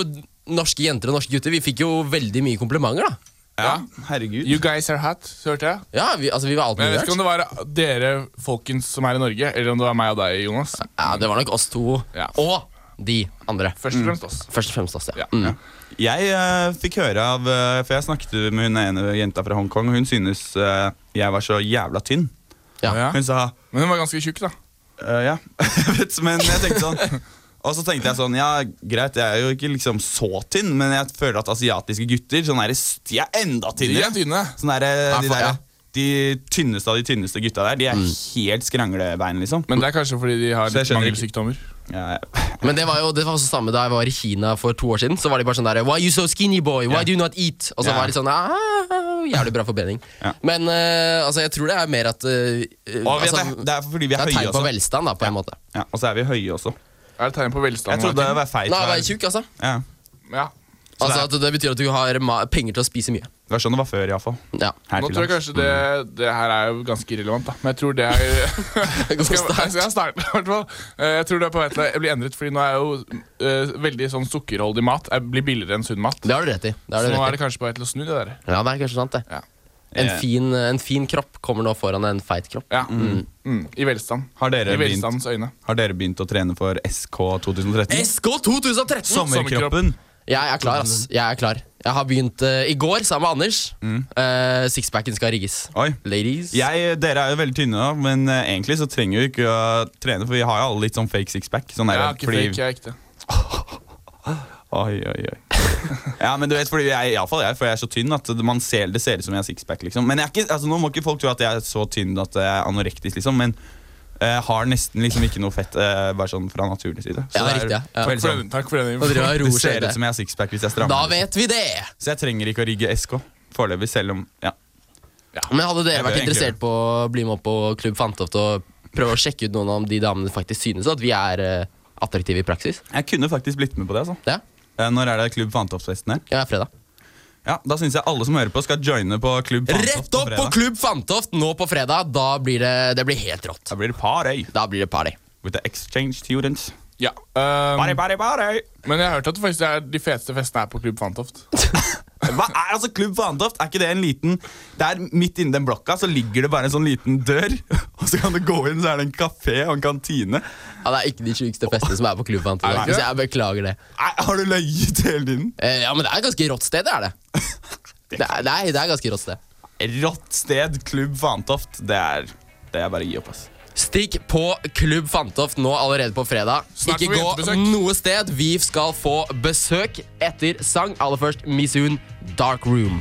[SPEAKER 3] norske jenter og norske gutter, vi fikk jo veldig mye komplimenter, da.
[SPEAKER 5] Ja,
[SPEAKER 4] herregud.
[SPEAKER 5] You guys are hot, hørte jeg.
[SPEAKER 3] Ja, vi, altså, vi var alt
[SPEAKER 5] Men jeg
[SPEAKER 3] mulig
[SPEAKER 5] vet ikke om det var dere folkens som er i Norge, eller om det var meg og deg, Jonas.
[SPEAKER 3] Ja, Det var nok oss to og de andre. Mm.
[SPEAKER 5] Først og fremst oss.
[SPEAKER 3] Først og fremst oss, ja. Mm.
[SPEAKER 4] Ja. Jeg eh, fikk høre av eh, For jeg snakket med hun ene jenta fra Hongkong, og hun synes eh, jeg var så jævla tynn. Hun sa
[SPEAKER 5] Men hun var ganske tjukk, da.
[SPEAKER 4] Eh, ja. Jeg vet, men jeg tenkte sånn Og så tenkte jeg sånn, ja greit, jeg er jo ikke liksom så tynn, men jeg føler at asiatiske gutter sånn er, de er enda
[SPEAKER 5] De
[SPEAKER 4] tynnere.
[SPEAKER 5] er tynne.
[SPEAKER 4] Sånn er, eh,
[SPEAKER 5] Ja,
[SPEAKER 4] de,
[SPEAKER 5] for- ja.
[SPEAKER 4] der, de tynneste av de tynneste gutta der, de
[SPEAKER 3] Mm.
[SPEAKER 4] er helt skranglebein, liksom.
[SPEAKER 5] Men det er kanskje fordi de har
[SPEAKER 4] Så jeg
[SPEAKER 5] litt
[SPEAKER 4] skjønner
[SPEAKER 5] mangelsykdommer.
[SPEAKER 4] Ja, ja.
[SPEAKER 3] Men det var jo det var også samme da jeg var i Kina for to år siden. Så var de bare sånn der Why you so skinny boy? Why do you not eat? Og så
[SPEAKER 4] Ja.
[SPEAKER 3] var de sånn «Ah, Jævlig bra forbedring. Men eh, altså, jeg tror det er mer at eh,
[SPEAKER 4] Og vi-
[SPEAKER 3] altså,
[SPEAKER 4] det, det er fordi vi er,
[SPEAKER 3] det er
[SPEAKER 4] høye
[SPEAKER 3] tegn på
[SPEAKER 4] også.
[SPEAKER 3] velstand, da, på en måte.
[SPEAKER 4] Ja, og så er vi høye også.
[SPEAKER 5] Er det tegn på
[SPEAKER 4] Jeg
[SPEAKER 5] velstand?
[SPEAKER 4] trodde jeg var feit.
[SPEAKER 3] Nei,
[SPEAKER 4] var-
[SPEAKER 3] være tjukk, altså.
[SPEAKER 4] Ja.
[SPEAKER 5] Ja.
[SPEAKER 3] Altså at Det betyr at du har ma- penger til å spise mye.
[SPEAKER 4] Det var sånn det var før, iallfall.
[SPEAKER 3] Ja.
[SPEAKER 5] Nå tror jeg kanskje det, det her er jo ganske irrelevant, da. Men jeg tror det er
[SPEAKER 3] God
[SPEAKER 5] Skal jeg- skal jeg starte, i hvert fall? Eh, Jeg tror det er på vei til å bli endret, fordi nå er jo eh, veldig sånn sukkerholdig mat er, blir billigere enn sunn mat.
[SPEAKER 3] Det har du rett i. Det har
[SPEAKER 5] Så
[SPEAKER 3] du
[SPEAKER 5] nå er
[SPEAKER 3] rett i.
[SPEAKER 5] det kanskje på vei til å snu det der.
[SPEAKER 3] Ja, det er kanskje sant, det. En,
[SPEAKER 5] Eh.
[SPEAKER 3] fin, en fin kropp kommer nå foran en feit kropp.
[SPEAKER 5] Ja. Mm. I velstand.
[SPEAKER 4] Har dere,
[SPEAKER 5] I velstandens
[SPEAKER 4] begynt,
[SPEAKER 5] øyne.
[SPEAKER 4] har dere begynt å trene for SK 2013?
[SPEAKER 3] SK 2013!
[SPEAKER 4] Sommerkroppen.
[SPEAKER 3] Jeg er klar, ass. Jeg er klar. Jeg har begynt eh, i går sammen med Anders. Eh, sixpacken skal rigges.
[SPEAKER 4] Mm. Oi.
[SPEAKER 3] Ladies.
[SPEAKER 4] Jeg, dere er jo veldig tynne, da, men eh, egentlig så trenger vi jo ikke å trene, for vi har jo alle litt sånn fake sixpack. Sånn
[SPEAKER 5] Jeg
[SPEAKER 4] der,
[SPEAKER 5] er ikke
[SPEAKER 4] fordi,
[SPEAKER 5] fake, jeg er ekte.
[SPEAKER 4] Oi, oi, oi. ja, men du vet, fordi jeg, i alle fall jeg, for jeg er så tynn at man ser, det ser ut som jeg har sixpack. Liksom. Men jeg er ikke, altså, nå må ikke folk tro at jeg er så tynn at jeg er anorektisk, liksom, men eh, har nesten liksom ikke noe fett, eh, bare sånn fra naturlig side.
[SPEAKER 3] Ja,
[SPEAKER 4] det er
[SPEAKER 3] riktig, ja. Ja.
[SPEAKER 4] veldig
[SPEAKER 5] Takk for
[SPEAKER 4] sånn-
[SPEAKER 5] den- Takk for den
[SPEAKER 3] Og dere har
[SPEAKER 4] Det ser
[SPEAKER 3] roskjøret.
[SPEAKER 4] ut som jeg har sixpack hvis jeg
[SPEAKER 3] Da
[SPEAKER 4] strammer.
[SPEAKER 3] vet vi det!
[SPEAKER 4] Så jeg trenger ikke å rigge SK foreløpig, selv om ja.
[SPEAKER 3] Men hadde dere vært
[SPEAKER 4] Jeg bør egentlig
[SPEAKER 3] interessert på å bli med opp på Klubb Fantoft og prøve å sjekke ut noen om de damene faktisk synes at vi er eh, attraktive i praksis?
[SPEAKER 4] Jeg kunne faktisk blitt med på det. altså.
[SPEAKER 3] Ja.
[SPEAKER 4] Eh, Når er det Klubb Fantoft-festen her?
[SPEAKER 3] Ja, fredag.
[SPEAKER 4] Ja, Da syns jeg alle som hører på, skal joine på Klubb Fantoft.
[SPEAKER 3] Rett opp på Klubb Fantoft nå på fredag. Da blir det, det blir helt rått.
[SPEAKER 4] Da blir det party.
[SPEAKER 3] Da blir det party.
[SPEAKER 4] With the exchange students.
[SPEAKER 5] Ja. ehm,
[SPEAKER 4] Party, party, party!
[SPEAKER 5] men jeg har hørt at det faktisk er de feteste festene er på Klubb Fantoft.
[SPEAKER 4] Hva er altså Klubb Fantoft? Er ikke det en liten Der midt inni den blokka så ligger det bare en sånn liten dør, og så kan du gå inn, så er det en kafé og en kantine.
[SPEAKER 3] Ja, det er ikke de sjukeste festene som er på Klubb Fantoft.
[SPEAKER 4] Er det ikke
[SPEAKER 3] Så jeg beklager det.
[SPEAKER 4] Nei, Har du løyet hele tiden?
[SPEAKER 3] Eh, ja, men det er et ganske rått sted, det er det. Det er, nei, det er et ganske rått sted.
[SPEAKER 4] Rått sted, Klubb Fantoft. Det er, det er bare å gi opp, ass.
[SPEAKER 3] Stikk på Klubb Fantoft nå allerede på fredag.
[SPEAKER 5] Snart
[SPEAKER 3] Ikke
[SPEAKER 5] får vi
[SPEAKER 3] gå
[SPEAKER 5] jentebesøk.
[SPEAKER 3] noe sted. Vi skal få besøk etter sang. Aller først Misun Dark Room.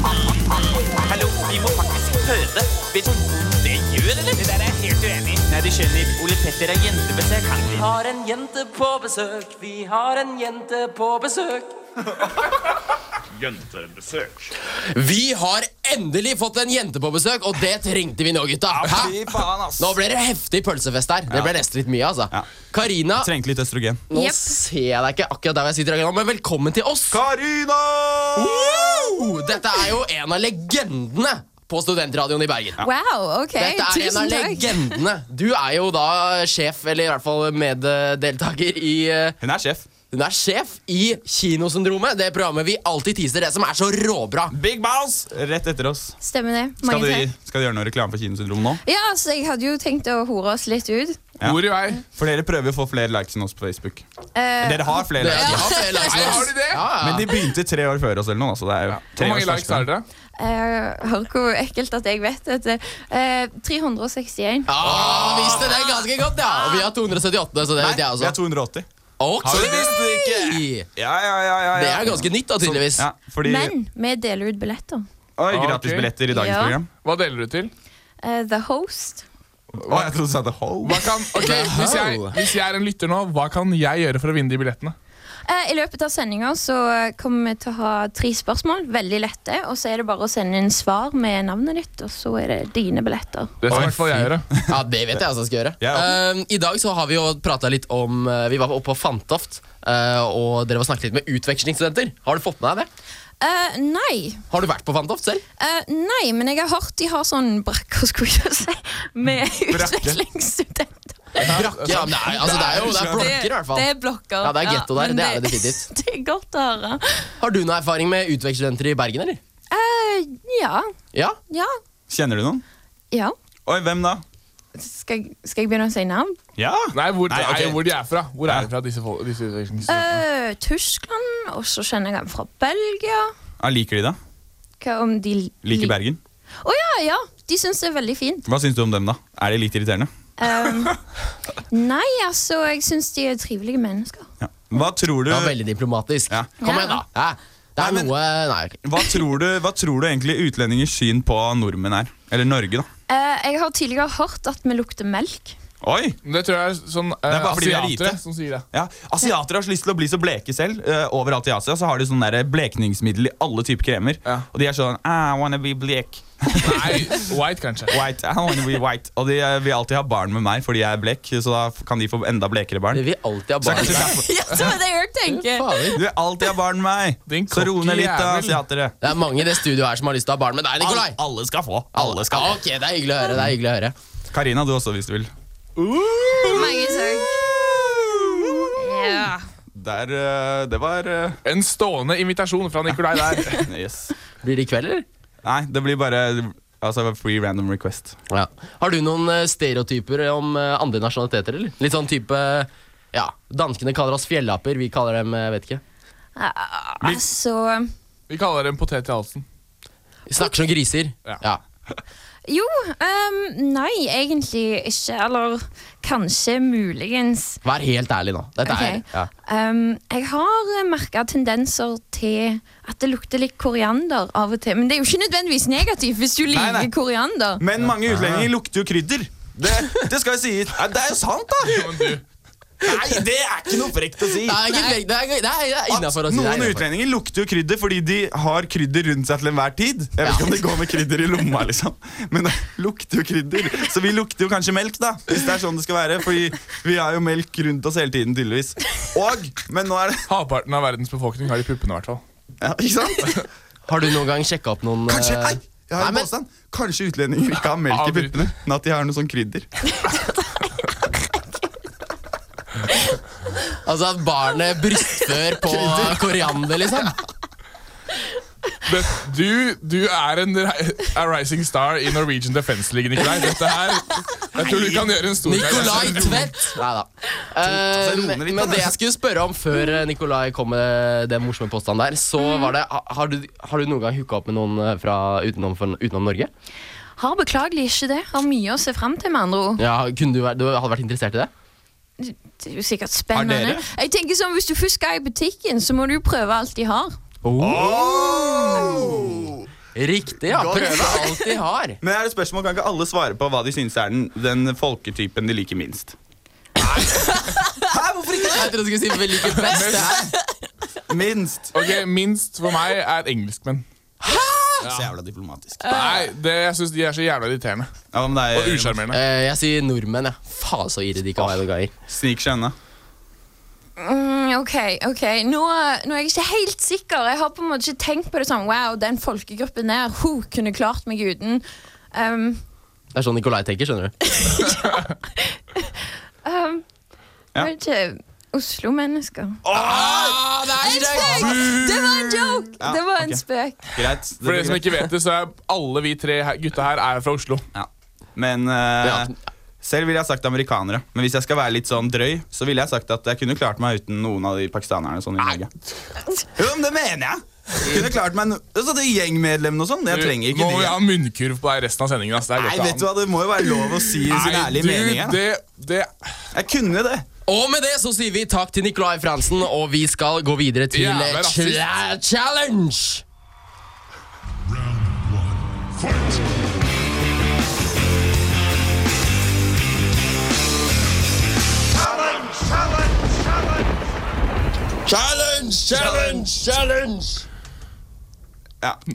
[SPEAKER 12] Hallo, vi må faktisk føde. Vet du hvor det gjør, eller? Det der er jeg helt uenig i. Nei, du skjønner, Ole Petter har jentebesøk. Han
[SPEAKER 13] Vi har en jente på besøk, vi har en jente på besøk.
[SPEAKER 14] Jentebesøk.
[SPEAKER 3] Vi har endelig fått en jente på besøk, og det trengte vi nå, gutta.
[SPEAKER 4] fy faen, ass.
[SPEAKER 3] Nå ble det heftig pølsefest her. Det
[SPEAKER 4] Ja.
[SPEAKER 3] ble nesten litt mye, altså. Karina,
[SPEAKER 4] Trengte litt østrogen.
[SPEAKER 3] nå ser jeg deg ikke akkurat der hvor jeg sitter akkurat nå, men velkommen til oss.
[SPEAKER 4] Karina!
[SPEAKER 3] Wow! Dette er jo en av legendene på studentradioen i Bergen.
[SPEAKER 15] Wow, ok.
[SPEAKER 3] Dette er en
[SPEAKER 15] Tusen
[SPEAKER 3] av
[SPEAKER 15] takk.
[SPEAKER 3] legendene. Du er jo da sjef, eller i hvert fall meddeltaker i eh,
[SPEAKER 4] Hun er sjef.
[SPEAKER 3] Hun er sjef i Kinosyndromet, det programmet vi alltid teaser, det som er så råbra.
[SPEAKER 4] Big Bounce! Rett etter oss.
[SPEAKER 15] Stemmer det.
[SPEAKER 4] Skal
[SPEAKER 15] Mange
[SPEAKER 4] du,
[SPEAKER 15] takk.
[SPEAKER 4] skal du gjøre noe reklame for Kinosyndrom nå?
[SPEAKER 15] Ja, altså, jeg hadde jo tenkt å hore oss litt ut.
[SPEAKER 4] Ja.
[SPEAKER 5] Hvor i vei?
[SPEAKER 4] For dere prøver å få flere likes enn oss på Facebook.
[SPEAKER 15] Eh,
[SPEAKER 4] Dere har flere
[SPEAKER 3] Dere
[SPEAKER 4] likes. enn
[SPEAKER 3] har
[SPEAKER 4] oss.
[SPEAKER 3] flere likes
[SPEAKER 5] Nei,
[SPEAKER 3] enn oss.
[SPEAKER 5] har de det?
[SPEAKER 4] Men de begynte tre år før oss. eller noe, så det er jo
[SPEAKER 5] Hvor
[SPEAKER 4] tre
[SPEAKER 5] mange
[SPEAKER 4] års
[SPEAKER 5] likes
[SPEAKER 4] forskjell.
[SPEAKER 5] er det?
[SPEAKER 15] eh, Hør hvor ekkelt at jeg vet dette. Eh, 361.
[SPEAKER 3] Ah, vi visste det ganske godt, ja. Og vi har 278, så det vet jeg
[SPEAKER 4] Nei, vi
[SPEAKER 3] også.
[SPEAKER 4] er 280.
[SPEAKER 3] Ok!
[SPEAKER 4] Har du visst det Ja, ja, ja, ja,
[SPEAKER 3] Det er ganske nytt, da, tydeligvis.
[SPEAKER 4] Ja, fordi
[SPEAKER 15] Men vi deler ut billetter.
[SPEAKER 4] Oi,
[SPEAKER 5] Ah,
[SPEAKER 4] gratis
[SPEAKER 5] ok.
[SPEAKER 4] billetter i dagens
[SPEAKER 15] Ja.
[SPEAKER 4] program.
[SPEAKER 5] Hva deler du til?
[SPEAKER 15] Eh, the Host.
[SPEAKER 4] Å, jeg trodde du sa The Hole.
[SPEAKER 5] Hva kan, ok, hvis, jeg, hvis jeg er en lytter nå, hva kan jeg gjøre for å vinne de billettene?
[SPEAKER 15] Eh, I løpet av sendinga så eh, kommer vi til å ha tre spørsmål. Veldig lette. Og så er det bare å sende inn svar med navnet ditt, og så er det dine billetter.
[SPEAKER 5] Det skal i hvert fall jeg gjøre.
[SPEAKER 3] Ja, det vet jeg altså skal gjøre. Ehm, I dag så har vi jo prata litt om eh, Vi var oppe på Fantoft, eh, og dere var snakket litt med utvekslingsstudenter. Har du fått med deg det?
[SPEAKER 15] Eh, nei.
[SPEAKER 3] Har du vært på Fantoft selv?
[SPEAKER 15] Eh, nei, men jeg har hørt de har sånn brakker, skulle jeg til å si, med
[SPEAKER 3] Brakke?
[SPEAKER 15] utvekslingsstudenter.
[SPEAKER 3] Brakke? Ja, men det er, altså, det er jo det er blokker, i hvert fall.
[SPEAKER 15] Det er blokker.
[SPEAKER 3] Ja, det er getto der.
[SPEAKER 15] men
[SPEAKER 3] Det er det definitivt.
[SPEAKER 15] Det er godt å høre.
[SPEAKER 3] Har du noe erfaring med utvekslingsstudenter i Bergen, eller?
[SPEAKER 15] Eh, ja.
[SPEAKER 3] Ja?
[SPEAKER 15] Ja.
[SPEAKER 4] Kjenner du noen?
[SPEAKER 15] ja.
[SPEAKER 4] Oi, hvem da?
[SPEAKER 15] Skal, jeg- skal jeg begynne å si navn?
[SPEAKER 4] Ja?
[SPEAKER 5] Nei, hvor,
[SPEAKER 4] Nei, ok.
[SPEAKER 5] nei, hvor de er fra. Hvor er de fra, disse, folk, disse utvekslingsstudentene?
[SPEAKER 15] Eh, Tyskland, og så kjenner jeg en fra Belgia.
[SPEAKER 4] Ja, liker de da?
[SPEAKER 15] Hva om de
[SPEAKER 4] Liker Bergen?
[SPEAKER 15] Å ja, ja. De syns det er veldig fint.
[SPEAKER 4] Hva syns du om dem, da? Er de litt irriterende?
[SPEAKER 15] Um, nei, altså, jeg syns de er trivelige mennesker.
[SPEAKER 4] Hva tror du
[SPEAKER 3] Det var veldig diplomatisk. Kom igjen, da. Ja. Det er noe Nei. ok.
[SPEAKER 4] Hva tror, du, hva tror du egentlig utlendingers syn på nordmenn er? Eller Norge, da.
[SPEAKER 15] Eh, jeg har tidligere hørt at vi lukter melk.
[SPEAKER 4] Oi!
[SPEAKER 5] Det tror jeg er sånn
[SPEAKER 4] det er
[SPEAKER 5] eh,
[SPEAKER 4] bare fordi vi er
[SPEAKER 5] asiatere
[SPEAKER 4] lite.
[SPEAKER 5] som sier det.
[SPEAKER 4] Ja, Asiater har så lyst til å bli så bleke selv. Eh, overalt i Asia så har de sånn der blekningsmiddel i alle typer kremer. Og de er sånn I wanna be blek.
[SPEAKER 5] Nei, white kanskje.
[SPEAKER 4] White, I wanna be white Og de eh, vil alltid ha barn med meg fordi jeg er blek. Så da f- kan de få enda blekere barn. De
[SPEAKER 3] vil alltid ha barn
[SPEAKER 15] Ja, det var det jeg også tenker.
[SPEAKER 4] Du vil alltid ha barn med meg! Så ro ned litt, da,
[SPEAKER 3] jævel.
[SPEAKER 4] asiatere.
[SPEAKER 3] Det er mange i det studioet her som har lyst til å ha barn med deg, Nikolai.
[SPEAKER 4] Al- Alle skal få. Alle skal
[SPEAKER 3] Ok, det er hyggelig å høre. det er hyggelig å høre.
[SPEAKER 4] Karina, du også, hvis du vil.
[SPEAKER 15] Mange takk. Ja.
[SPEAKER 4] Der, eh, det var
[SPEAKER 5] En stående invitasjon fra Nikolai der.
[SPEAKER 4] yes.
[SPEAKER 3] Blir det i kveld, eller?
[SPEAKER 4] Nei, det blir bare altså, free random request.
[SPEAKER 3] Ja. Har du noen eh, stereotyper om eh, andre nasjonaliteter, eller? Litt sånn type Ja, danskene kaller oss fjellaper, vi kaller dem eh, Vet ikke.
[SPEAKER 15] Ah, Altså
[SPEAKER 5] Vi kaller det en potet i halsen.
[SPEAKER 3] Vi snakker som griser. Ja.
[SPEAKER 15] Jo, ehm, nei, egentlig ikke. Eller kanskje muligens.
[SPEAKER 3] Vær helt ærlig nå. Dette
[SPEAKER 15] Ok.
[SPEAKER 3] er ja.
[SPEAKER 15] Ehm, jeg har merka tendenser til at det lukter litt koriander av og til. Men det er jo ikke nødvendigvis negativt hvis du liker
[SPEAKER 4] nei.
[SPEAKER 15] koriander.
[SPEAKER 4] Men mange utlendinger lukter jo krydder. Det, det skal jo sies. Nei, Det er jo sant, da! Nei, det er ikke noe frekt å si.
[SPEAKER 3] Det er ikke frekt, det er- det er- det er innenfor å si, det er
[SPEAKER 4] At Noen
[SPEAKER 3] innenfor.
[SPEAKER 4] utlendinger lukter jo krydder fordi de har krydder rundt seg til enhver tid. Jeg vet ikke om de går med krydder i lomma, liksom. Men det lukter jo krydder. Så vi lukter jo kanskje melk, da. Hvis det er sånn det skal være. Fordi vi har jo melk rundt oss hele tiden, tydeligvis. Og, men nå er det
[SPEAKER 5] Halvparten av verdens befolkning har det i puppene, i hvert fall.
[SPEAKER 4] Ja, ikke sant?
[SPEAKER 3] Har du noen gang sjekka opp noen
[SPEAKER 4] Kanskje,
[SPEAKER 3] eh,
[SPEAKER 4] nei, jeg har en påstand. Kanskje utlendinger ikke har melk i puppene, men at de har noe sånn krydder.
[SPEAKER 3] Altså at barnet brystfør på koriander, liksom.
[SPEAKER 5] Men du, du er en ri- a rising star i Norwegian Defence League, Nikolai. Dette her, jeg tror du kan gjøre en stor
[SPEAKER 3] Nikolai Tvedt! Nei da. Eh,
[SPEAKER 5] Altså, roe ned litt,
[SPEAKER 3] men
[SPEAKER 5] da.
[SPEAKER 3] det jeg skulle spørre om før eh, Nikolai kom med den morsomme påstanden der, så var det ha- Har du, har du noen gang hooka opp med noen eh, fra utenom, for, utenom Norge?
[SPEAKER 15] Har beklagelig ikke det. Har mye å se fram til, med andre ord.
[SPEAKER 3] Ja, kunne du, vært- du hadde vært interessert i det?
[SPEAKER 15] Det er jo sikkert
[SPEAKER 3] Har
[SPEAKER 15] spennende.
[SPEAKER 3] dere?
[SPEAKER 15] Jeg tenker sånn, Hvis du først skal i butikken, så må du jo prøve alt de har.
[SPEAKER 3] Riktig, ja.
[SPEAKER 4] Godt
[SPEAKER 3] Prøve
[SPEAKER 4] sagt.
[SPEAKER 3] alt de har.
[SPEAKER 4] Men her er et spørsmål, kan ikke alle svare på hva de syns er den, den folketypen de liker minst?
[SPEAKER 3] Hvorfor ikke? Jeg trodde du skulle si vi liker best. det her.
[SPEAKER 4] Minst.
[SPEAKER 5] Ok, Minst for meg er engelskmenn.
[SPEAKER 4] Så jævla diplomatisk.
[SPEAKER 5] Nei, det, jeg syns de er så jævla irriterende.
[SPEAKER 4] Ja, men det er,
[SPEAKER 5] Og usjarmerende.
[SPEAKER 3] Eh, jeg sier nordmenn, jeg. Ja. Faen så irre de kan være noen ganger.
[SPEAKER 4] Snik seg unna.
[SPEAKER 15] Mm, ok, ok. Nå, nå er jeg ikke helt sikker. Jeg har på en måte ikke tenkt på det sånn Wow, den folkegruppen der, hun kunne klart meg uten. Um,
[SPEAKER 3] Det er sånn Nikolai tenker, skjønner du.
[SPEAKER 15] um,
[SPEAKER 3] Ja.
[SPEAKER 15] Var det ikke Oslo-mennesker?
[SPEAKER 3] En
[SPEAKER 15] spøk! Det var en joke!
[SPEAKER 5] Ja,
[SPEAKER 15] det var en
[SPEAKER 5] ok.
[SPEAKER 15] spøk.
[SPEAKER 4] Greit. det
[SPEAKER 5] For
[SPEAKER 4] blir
[SPEAKER 5] dere som
[SPEAKER 4] greit.
[SPEAKER 5] ikke vet det, så er alle vi tre her- gutta her er fra Oslo.
[SPEAKER 4] Men eh, selv ville jeg sagt amerikanere. Men hvis jeg skal være litt sånn drøy, så ville jeg sagt at jeg kunne klart meg uten noen av de pakistanerne sånn i Norge. Jo, men det mener jeg! Kunne klart meg no altså, det er Gjengmedlemmene og sånn. Jeg
[SPEAKER 5] Du,
[SPEAKER 4] trenger
[SPEAKER 5] Nå
[SPEAKER 4] ikke
[SPEAKER 5] må vi
[SPEAKER 4] de.
[SPEAKER 5] ha munnkurv på deg resten av sendingen. ass. Det er
[SPEAKER 4] Nei,
[SPEAKER 5] godt å ha
[SPEAKER 4] vet du hva, det må jo være lov å si
[SPEAKER 5] den.
[SPEAKER 4] sin
[SPEAKER 5] Nei,
[SPEAKER 4] ærlige
[SPEAKER 5] du,
[SPEAKER 4] mening her. da.
[SPEAKER 5] Det, det
[SPEAKER 4] Jeg kunne det.
[SPEAKER 3] Og med det så sier vi takk til Nikolai Fransen, og vi skal gå videre til
[SPEAKER 5] Jævla
[SPEAKER 3] eh,
[SPEAKER 5] rasist.
[SPEAKER 3] Cla- Challenge. Challenge, challenge, challenge!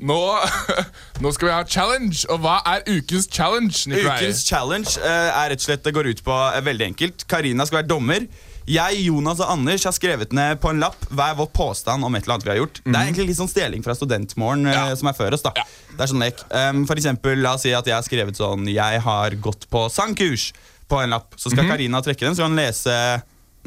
[SPEAKER 5] Nå, nå skal vi ha challenge, og hva er ukens challenge? Nikolai?
[SPEAKER 4] Ukens challenge eh, er rett og slett, det går ut på eh, veldig enkelt. Karina skal være dommer. Jeg, Jonas og Anders har skrevet ned på en lapp hver vår påstand om et eller annet vi har gjort. Det er egentlig litt sånn stjeling fra studentmorgen eh, som er før oss. da. Det er sånn lek. Um, for eksempel, la oss si at jeg har skrevet sånn Jeg har gått på sangkurs på en lapp. Så skal
[SPEAKER 5] Mhm.
[SPEAKER 4] Karina trekke den, så kan hun lese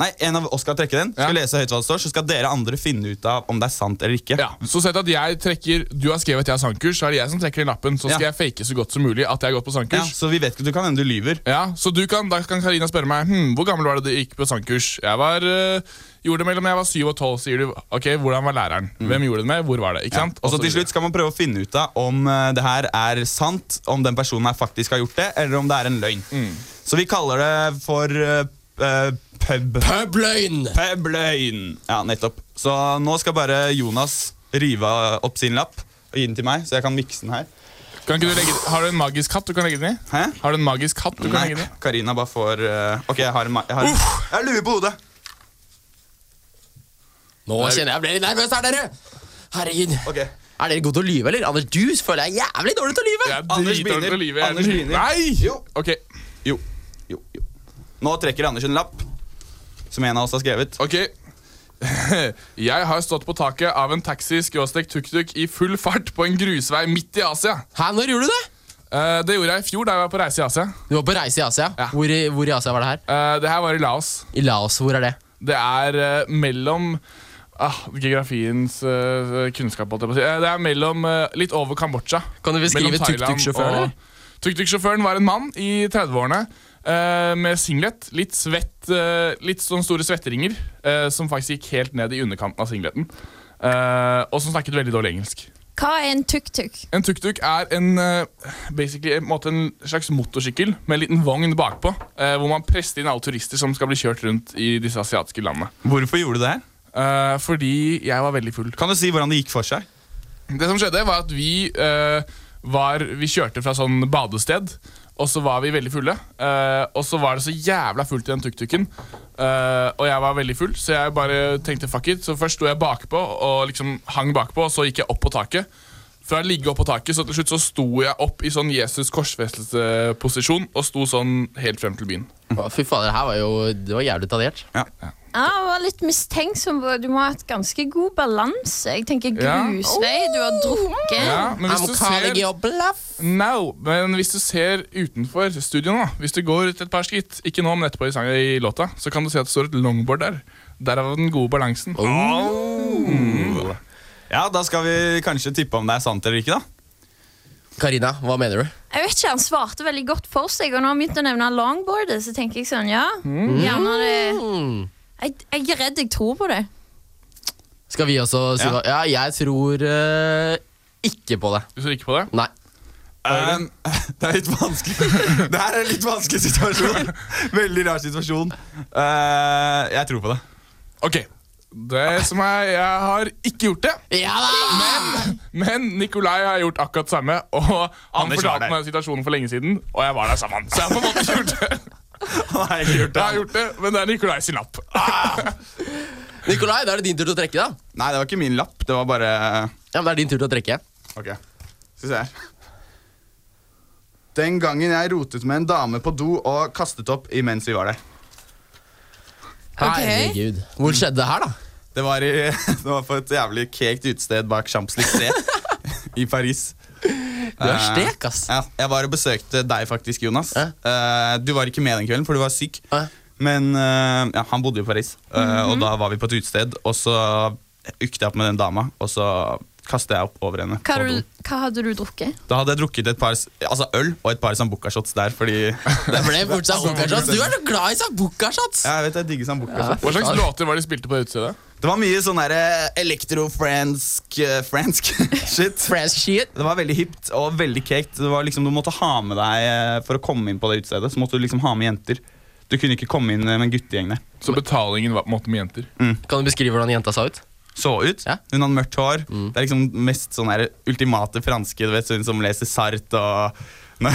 [SPEAKER 4] Nei, en av oss skal trekke den. Skal lese høyt hva det står, Så skal dere andre finne ut av om det er sant eller ikke.
[SPEAKER 5] Så sett at jeg trekker, Du har skrevet at jeg har sangkurs, så er det jeg som trekker den lappen. Så skal jeg fake så godt som mulig at jeg har gått på sangkurs.
[SPEAKER 4] så vi vet ikke, du kan hende du lyver.
[SPEAKER 5] Ja, så du kan, Da kan Karina spørre meg hm, hvor gammel var det du gikk på sangkurs. Jeg var, øh, gjorde det mellom jeg var syv og tolv. sier du. Ok, Hvordan var læreren? Hvem gjorde det med? Hvor var det? Ikke sant?
[SPEAKER 4] Mm. Og så til
[SPEAKER 5] videre.
[SPEAKER 4] slutt skal man prøve å finne ut av om eh, det her er sant, om den personen her faktisk har gjort det, eller om det er en løgn. Så vi kaller det for eh, eh, pub...
[SPEAKER 3] Publøgn!
[SPEAKER 4] Publøgn! Ja, nettopp. Så nå skal bare Jonas rive opp sin lapp og gi den til meg, så jeg kan mikse den her.
[SPEAKER 5] Kan ikke du legge, har du en magisk hatt du kan legge den i?
[SPEAKER 4] Hæ?
[SPEAKER 5] Har du en magisk hatt du kan
[SPEAKER 4] Nei,
[SPEAKER 5] legge den i?
[SPEAKER 4] Karina bare får eh, Ok, jeg har en ma- jeg har, jeg har lue på hodet.
[SPEAKER 3] Nå kjenner jeg ble litt nervøs her, dere. Herregud. Er dere gode til å lyve, eller? Anders, du føler jeg er jævlig dårlig til å lyve.
[SPEAKER 4] Anders begynner. Anders begynner.
[SPEAKER 5] Jo.
[SPEAKER 4] Jo. jo. Jo. Nå trekker Anders en lapp som en av oss har skrevet.
[SPEAKER 5] Ok. Jeg har stått på taket av en taxi-tuk-tuk i full fart på en grusvei midt i Asia. Eh,
[SPEAKER 3] Hæ, Når gjorde du det?
[SPEAKER 5] det gjorde jeg i fjor da jeg var på reise i Asia. Eh,
[SPEAKER 3] Du var på reise i Asia? Hvor, i- hvor i Asia var det her?
[SPEAKER 5] det her var i Laos.
[SPEAKER 3] I Laos, Hvor er det?
[SPEAKER 5] Det er eh, mellom ah, Geografiens eh, kunnskap, holdt jeg på å si. Eh, det er mellom eh, litt over Kambodsja.
[SPEAKER 3] Kan du beskrive
[SPEAKER 5] Mellom Thailand
[SPEAKER 3] tuk-tuk-sjåføren,
[SPEAKER 5] og-
[SPEAKER 3] eller?
[SPEAKER 5] Tuk-tuk-sjåføren var en mann i 30-årene. eh, med singlet. Litt svett, eh, litt sånne store svetteringer eh, som faktisk gikk helt ned i underkanten av singleten. Eh, og som snakket veldig dårlig engelsk.
[SPEAKER 15] Hva er en tuk-tuk?
[SPEAKER 5] En tuk-tuk er en, eh, basically, en, måte, en slags motorsykkel med en liten vogn bakpå. eh, hvor man presser inn alle turister som skal bli kjørt rundt i disse asiatiske landene.
[SPEAKER 4] Hvorfor gjorde du det her?
[SPEAKER 5] Eh, fordi jeg var veldig full.
[SPEAKER 4] Kan du si hvordan det gikk for seg?
[SPEAKER 5] Det som skjedde, var at vi, eh, var, vi kjørte fra sånn badested. Og så var vi veldig fulle. eh, og så var det så jævla fullt i den tuk-tuken. eh, og jeg var veldig full, så jeg bare tenkte fuck it. Så først sto jeg bakpå og liksom hang bakpå, og så gikk jeg opp på taket. Fra å ligge opp på taket, så til slutt så sto jeg opp i sånn Jesus korsfestelse-posisjon og sto sånn helt frem til byen.
[SPEAKER 3] Fy fader, det her var jo det var jævlig detaljert.
[SPEAKER 15] Ja, jeg var litt mistenksom. på- Du må ha hatt ganske god balanse. Jeg tenker
[SPEAKER 5] Ja.
[SPEAKER 15] grusvei, du har drukket.
[SPEAKER 5] Ja, men hvis du ser No, men hvis du ser utenfor studio nå, hvis du går ut et par skritt, ikke nå, men etterpå i, sangen, i låta, så kan du se at det står et longboard der. Derav den gode balansen.
[SPEAKER 4] Ja, da skal vi kanskje tippe om det er sant eller ikke, da.
[SPEAKER 3] Karina, hva mener du?
[SPEAKER 15] Jeg vet ikke, Han svarte veldig godt for seg, og når han begynte å nevne longboardet, så tenker jeg sånn, ja.
[SPEAKER 3] Mm.
[SPEAKER 15] Gjerne
[SPEAKER 5] Mm.
[SPEAKER 15] det. Jeg, jeg er redd jeg tror på det.
[SPEAKER 3] Skal vi også si hva? Ja, jeg tror eh, ikke på det.
[SPEAKER 5] Du tror ikke på det?
[SPEAKER 3] Nei.
[SPEAKER 4] Um, det er litt vanskelig. Det her er en litt vanskelig situasjon. Veldig rar situasjon. Eh, jeg tror på det.
[SPEAKER 5] Ok. Det som er Jeg har ikke gjort det. Men, men Nikolai har gjort akkurat samme, og han
[SPEAKER 4] Anders var
[SPEAKER 5] fortalte
[SPEAKER 4] der.
[SPEAKER 5] meg situasjonen for lenge siden, og jeg var der sammen. Så jeg har på en måte ikke gjort det.
[SPEAKER 4] Nei, ikke gjort
[SPEAKER 5] det. Ah. Jeg har gjort det, men det er Nikolai sin lapp.
[SPEAKER 3] Nikolai, da er det din tur til å trekke, da.
[SPEAKER 4] Nei, det var ikke min lapp. Det var bare
[SPEAKER 3] Ja, men Det er din tur til å trekke.
[SPEAKER 6] Ok, skal vi se her. Den gangen jeg rotet med en dame på do og kastet opp imens vi var der.
[SPEAKER 3] Herregud. Hvor skjedde det her, da?
[SPEAKER 4] Det var, i, det var på et jævlig kekt utested bak Champs-Lycées i Paris. Du
[SPEAKER 3] er stek, ass.
[SPEAKER 4] Eh, Ja, jeg var og besøkte deg faktisk, Jonas. Eh, du var ikke med den kvelden, for du var syk. Men eh, ja, han bodde jo i Paris, eh,
[SPEAKER 3] Mhm.
[SPEAKER 4] og da var vi på et utested. Og så ukte jeg opp med den dama, og så kastet jeg opp over henne.
[SPEAKER 15] Hva,
[SPEAKER 4] på
[SPEAKER 15] har du,
[SPEAKER 4] do.
[SPEAKER 15] hva hadde du drukket?
[SPEAKER 4] Da hadde jeg drukket et par s- altså øl og et par sambuca-shots der, fordi
[SPEAKER 3] Det ble fort sambuca-shots. Du er så glad i sånn sambuca-shots!
[SPEAKER 4] altså, Ja, jeg vet, jeg digger sambuca-shots.
[SPEAKER 5] Hva slags låter var det de spilte på det utestedet?
[SPEAKER 4] Det var mye sånn derre elektro-fransk eh, fransk shit. Det var veldig hipt og veldig kekt. Det var liksom, Du måtte ha med deg eh, for å komme inn på det utestedet. Så måtte du liksom ha med jenter. Du kunne ikke komme inn eh, med en guttegjeng der.
[SPEAKER 5] Så betalingen var på en måte med jenter?
[SPEAKER 3] Kan du beskrive hvordan jenta så ut?
[SPEAKER 4] Så ut. Hun hadde mørkt hår. Det er liksom mest sånn der ultimate franske, du vet, så hun som leser Sart og når,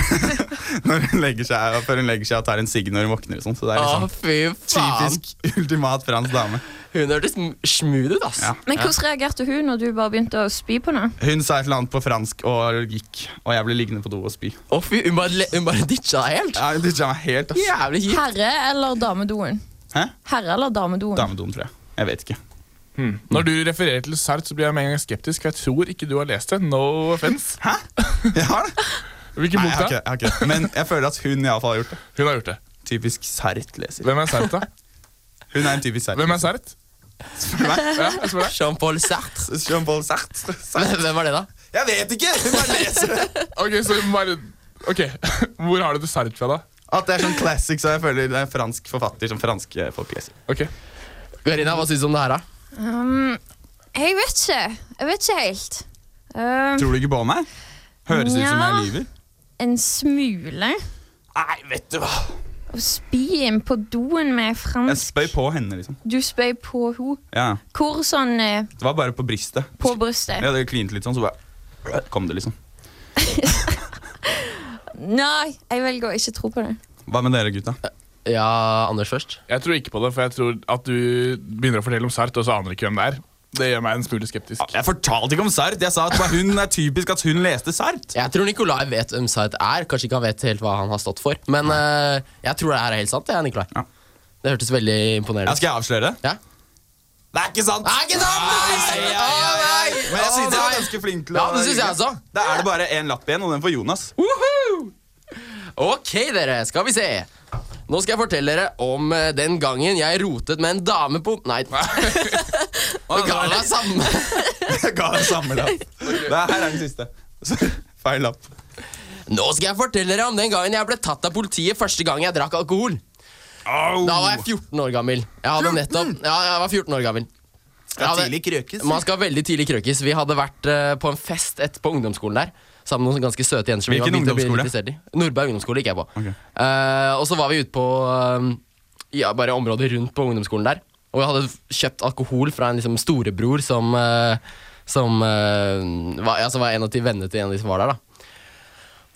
[SPEAKER 4] når hun legger seg, før hun legger seg og tar en sigg når hun våkner. og sånn. Så det er
[SPEAKER 3] Å,
[SPEAKER 4] liksom
[SPEAKER 3] fy faen.
[SPEAKER 4] typisk ultimat fransk dame.
[SPEAKER 3] Hun hørtes smooth ut, ass.
[SPEAKER 15] Men hvordan reagerte hun når du bare begynte å spy på henne?
[SPEAKER 4] Hun sa et eller annet på fransk og gikk, og jeg ble liggende på do og spy.
[SPEAKER 3] Å fy, Hun bare, le- hun bare ditcha deg helt?
[SPEAKER 4] Ja, hun ditcha meg helt, ass.
[SPEAKER 3] Jævlig kjipt.
[SPEAKER 15] Herre- eller damedoen?
[SPEAKER 4] Hæ?
[SPEAKER 15] Herre- eller damedoen?
[SPEAKER 4] Damedoen, tror jeg. Jeg vet ikke.
[SPEAKER 5] Når du refererer til Sart, så blir jeg med en gang skeptisk, for jeg tror ikke du har lest det. No offense.
[SPEAKER 4] Hæ? Jeg har det.
[SPEAKER 5] Hvilken
[SPEAKER 4] Nei,
[SPEAKER 5] bok
[SPEAKER 4] jeg har
[SPEAKER 5] da?
[SPEAKER 4] ikke, jeg har ikke. det. Men jeg føler at hun iallfall har gjort det.
[SPEAKER 5] Hun har gjort det.
[SPEAKER 4] Typisk Sart-leser.
[SPEAKER 5] Hvem er Sart, da?
[SPEAKER 4] Hun er en typisk Sart.
[SPEAKER 5] Hvem er Sart?
[SPEAKER 4] Spør meg.
[SPEAKER 5] Ja, jeg spør deg.
[SPEAKER 3] Jean-Paul Sartre.
[SPEAKER 4] Jean-Paul Sartre. Sartre.
[SPEAKER 3] Hvem var det, da?
[SPEAKER 4] Jeg vet ikke! Hun er bare leser det.
[SPEAKER 5] Ok, så hun bare... Ok, Hvor har du det Sart fra, da?
[SPEAKER 4] At det er sånn classic, så jeg føler det er en fransk forfatter som franske folk leser.
[SPEAKER 5] Ok.
[SPEAKER 3] Verina, hva syns du om det her, da?
[SPEAKER 15] Um, jeg vet ikke. Jeg vet ikke helt. Um,
[SPEAKER 4] Tror du ikke på meg? Høres ut som
[SPEAKER 15] Ja.
[SPEAKER 4] jeg lyver.
[SPEAKER 15] En smule.
[SPEAKER 4] Nei, vet du hva.
[SPEAKER 15] Å spy inn på doen med
[SPEAKER 4] Jeg
[SPEAKER 15] fransk
[SPEAKER 4] spøy på henne, liksom.
[SPEAKER 15] Du spøy på henne.
[SPEAKER 4] Ja.
[SPEAKER 15] Hvor sånn eh,
[SPEAKER 4] Det var bare på brystet.
[SPEAKER 15] På brystet.
[SPEAKER 4] Jeg hadde klint litt sånn, så bare kom det, liksom.
[SPEAKER 15] Nei, jeg velger å ikke tro på det.
[SPEAKER 4] Hva med dere, gutta?
[SPEAKER 3] Ja, Anders først.
[SPEAKER 5] Jeg tror ikke på det, for jeg tror at du begynner å fortelle om Sart, og så aner du ikke hvem det er. Det gjør meg en smule skeptisk.
[SPEAKER 4] Jeg fortalte ikke om Sart. Jeg sa at bare hun er typisk at hun leste Sart.
[SPEAKER 3] Jeg tror Nikolai vet hvem Sart er. Kanskje ikke han vet helt hva han har stått for. Men eh, jeg tror det her er helt sant. Det, er Nikolai. det hørtes veldig imponerende
[SPEAKER 4] Ja, skal jeg avsløre det?
[SPEAKER 3] Ja.
[SPEAKER 4] Det er ikke sant!
[SPEAKER 3] Det er ikke sant!
[SPEAKER 4] Nei, nei, nei, nei. Men jeg synes jeg var ganske flink til å
[SPEAKER 3] Ja, det synes jeg også.
[SPEAKER 4] Da er det bare én lapp igjen, og den får Jonas.
[SPEAKER 3] Ok, dere. Skal vi se. Nå skal jeg fortelle dere om eh, den gangen jeg rotet med en dame på Nei. Og ga meg samme.
[SPEAKER 4] Jeg ga deg samme lapp. Det her er den siste. Så- Feil lapp.
[SPEAKER 3] Nå skal jeg fortelle dere om den gangen jeg ble tatt av politiet første gang jeg drakk alkohol. Da
[SPEAKER 4] Uh.
[SPEAKER 3] var jeg 14 år gammel. Jeg hadde nettopp Ja, jeg var 14 år gammel. Jeg hadde-
[SPEAKER 4] tidlig krøkes.
[SPEAKER 3] Man skal veldig tidlig krøkes. Vi hadde vært eh, på en fest et på ungdomsskolen der. Sammen med noen ganske søte jenter. som vi
[SPEAKER 4] Hvilken
[SPEAKER 3] var begynt å bli
[SPEAKER 4] ungdomsskole?
[SPEAKER 3] interessert i. Nordberg ungdomsskole gikk jeg på. Eh, og så var vi ute på eh, ja, bare området rundt på ungdomsskolen der. Og jeg hadde f- kjøpt alkohol fra en liksom, storebror som, eh, som eh, var, ja, som var en av de vennene til en av de som var der. da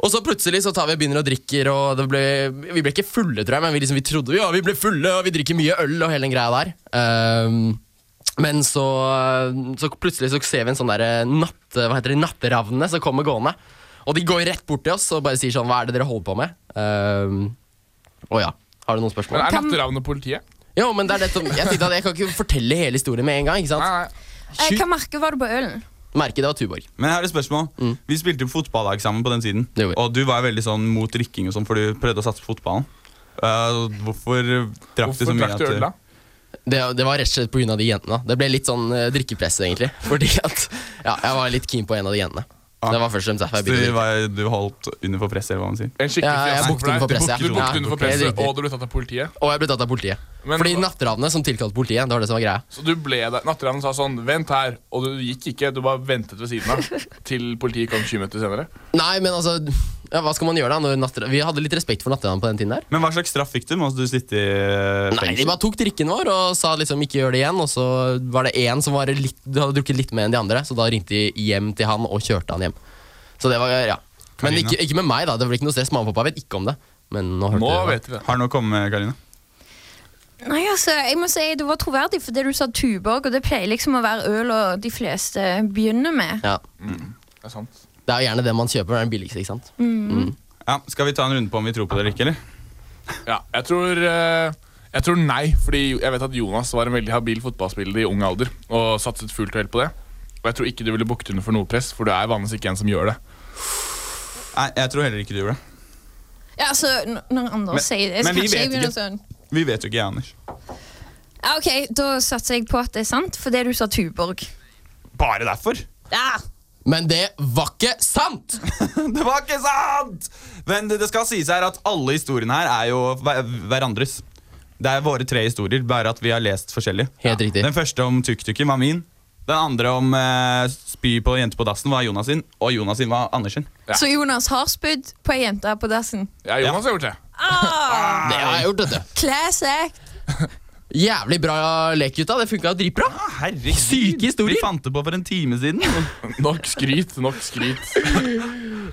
[SPEAKER 3] og så plutselig så tar vi og begynner å drikke, og det ble, vi ble ikke fulle, tror jeg, men vi, liksom, vi trodde ja, vi ble fulle, og vi drikker mye øl og hele den greia der. Ehm, men så, så plutselig så ser vi en sånn der natte, hva heter det, natteravnene som kommer gående. Og de går rett bort til oss og bare sier sånn, hva er det dere holder på med? Ehm, Å ja, har du noen spørsmål?
[SPEAKER 5] Men Er natteravnet politiet?
[SPEAKER 3] Jo, men det er dette, jeg tenkte at jeg kan ikke fortelle hele historien med en gang, ikke sant?
[SPEAKER 15] Eh, Hva merke var det på ølen?
[SPEAKER 3] Merke det var Tuborg.
[SPEAKER 4] Men jeg har et spørsmål.
[SPEAKER 3] Mm.
[SPEAKER 4] Vi spilte jo fotballag sammen på den tiden. Og du var veldig sånn mot drikking, og sånn, for du prøvde å satse på fotballen. Eh, hvorfor drakk du så mye? at
[SPEAKER 3] Det, det var rett og slett pga. de jentene. Det ble litt sånn eh, drikkepress, egentlig. Fordi at ja, jeg var litt keen på en av de jentene. Det var først og fremst derfor jeg
[SPEAKER 4] Så
[SPEAKER 3] begynte
[SPEAKER 4] du, var, du holdt under for presset, eller hva man sier?
[SPEAKER 5] En skikkelig
[SPEAKER 3] Ja, jeg
[SPEAKER 5] fiasko
[SPEAKER 3] bukte
[SPEAKER 5] for deg.
[SPEAKER 3] den for
[SPEAKER 5] Du
[SPEAKER 3] presset,
[SPEAKER 5] bukte-
[SPEAKER 3] ja.
[SPEAKER 5] Du bukte den
[SPEAKER 3] Ja,
[SPEAKER 5] for
[SPEAKER 3] helt
[SPEAKER 5] presset,
[SPEAKER 3] riktig.
[SPEAKER 5] og du ble tatt av politiet.
[SPEAKER 3] Og jeg ble tatt av politiet. Fordi natteravnene som tilkalte politiet. Det var det som var greia.
[SPEAKER 5] Så du ble der, Natteravnen sa sånn 'vent her', og du gikk ikke. Du bare ventet ved siden av til politiet kom 20 minutter senere.
[SPEAKER 3] Nei, men altså ja, Hva skal man gjøre da? Når natter... Vi hadde litt respekt for natteravnene på den tiden der.
[SPEAKER 4] Men hva slags straff fikk du? Måtte du sitte i eh,
[SPEAKER 3] Nei, De
[SPEAKER 4] fengsel?
[SPEAKER 3] bare tok drikken vår og sa liksom ikke gjør det igjen. Og så var det én som var litt, hadde drukket litt mer enn de andre, så da ringte de hjem til han og kjørte han hjem. Så det var, ja Men
[SPEAKER 4] Karina.
[SPEAKER 3] ikke, ikke med meg, da. Det ble ikke noe stress. Mamma og pappa vet ikke om det. Men nå hørte dere det.
[SPEAKER 5] vi det.
[SPEAKER 4] Har noe kommet, Karina?
[SPEAKER 15] Nei, altså, jeg må si Du var troverdig fordi du sa Tuborg, og det pleier liksom å være øl og de fleste begynner med.
[SPEAKER 3] Ja.
[SPEAKER 5] Det er sant.
[SPEAKER 3] Det er jo gjerne det man kjøper, det er den billigste, ikke sant?
[SPEAKER 15] Mm.
[SPEAKER 4] Ja, skal vi ta en runde på om vi tror på det eller ikke? eller?
[SPEAKER 5] Ja, jeg tror, eh, jeg tror nei, fordi jeg vet at Jonas var en veldig habil fotballspiller i ung alder og satset fullt og helt på det. Og jeg tror ikke du ville bukte under for noe press, for du er vanligvis ikke en som gjør det.
[SPEAKER 4] Nei, jeg tror heller ikke du gjorde det.
[SPEAKER 15] Ja, altså, n- Når andre
[SPEAKER 4] Men-
[SPEAKER 15] sier det, så
[SPEAKER 4] men vi
[SPEAKER 15] kanskje jeg
[SPEAKER 4] vet
[SPEAKER 15] begynner
[SPEAKER 4] ikke.
[SPEAKER 15] sånn
[SPEAKER 4] Vi vet jo ikke, jeg, Anders.
[SPEAKER 15] Ja, OK, da satser jeg på at det er sant, fordi du sa Tuborg.
[SPEAKER 4] Bare derfor?
[SPEAKER 15] Ja.
[SPEAKER 3] Men det var ikke sant!
[SPEAKER 4] det var ikke sant! Men det det skal sies her at alle historiene her er jo hver- hverandres. Det er våre tre historier, bare at vi har lest forskjellig.
[SPEAKER 3] Helt riktig.
[SPEAKER 4] Den første om tuk-tuken var min. Den andre om eh, spy på jente på dassen var Jonas sin, og Jonas sin var Anders sin.
[SPEAKER 15] Så Jonas har spydd på ei jente på dassen.
[SPEAKER 5] Ja, Jonas har gjort det.
[SPEAKER 15] Ah,
[SPEAKER 3] Det har jeg gjort, vet du.
[SPEAKER 15] classic!
[SPEAKER 3] Jævlig bra lek, gutta. Det funka jo dritbra.
[SPEAKER 4] Ah, Herregud,
[SPEAKER 3] Syke
[SPEAKER 4] vi
[SPEAKER 3] historier.
[SPEAKER 4] fant det på for en time siden.
[SPEAKER 5] Nok skryt, nok skryt.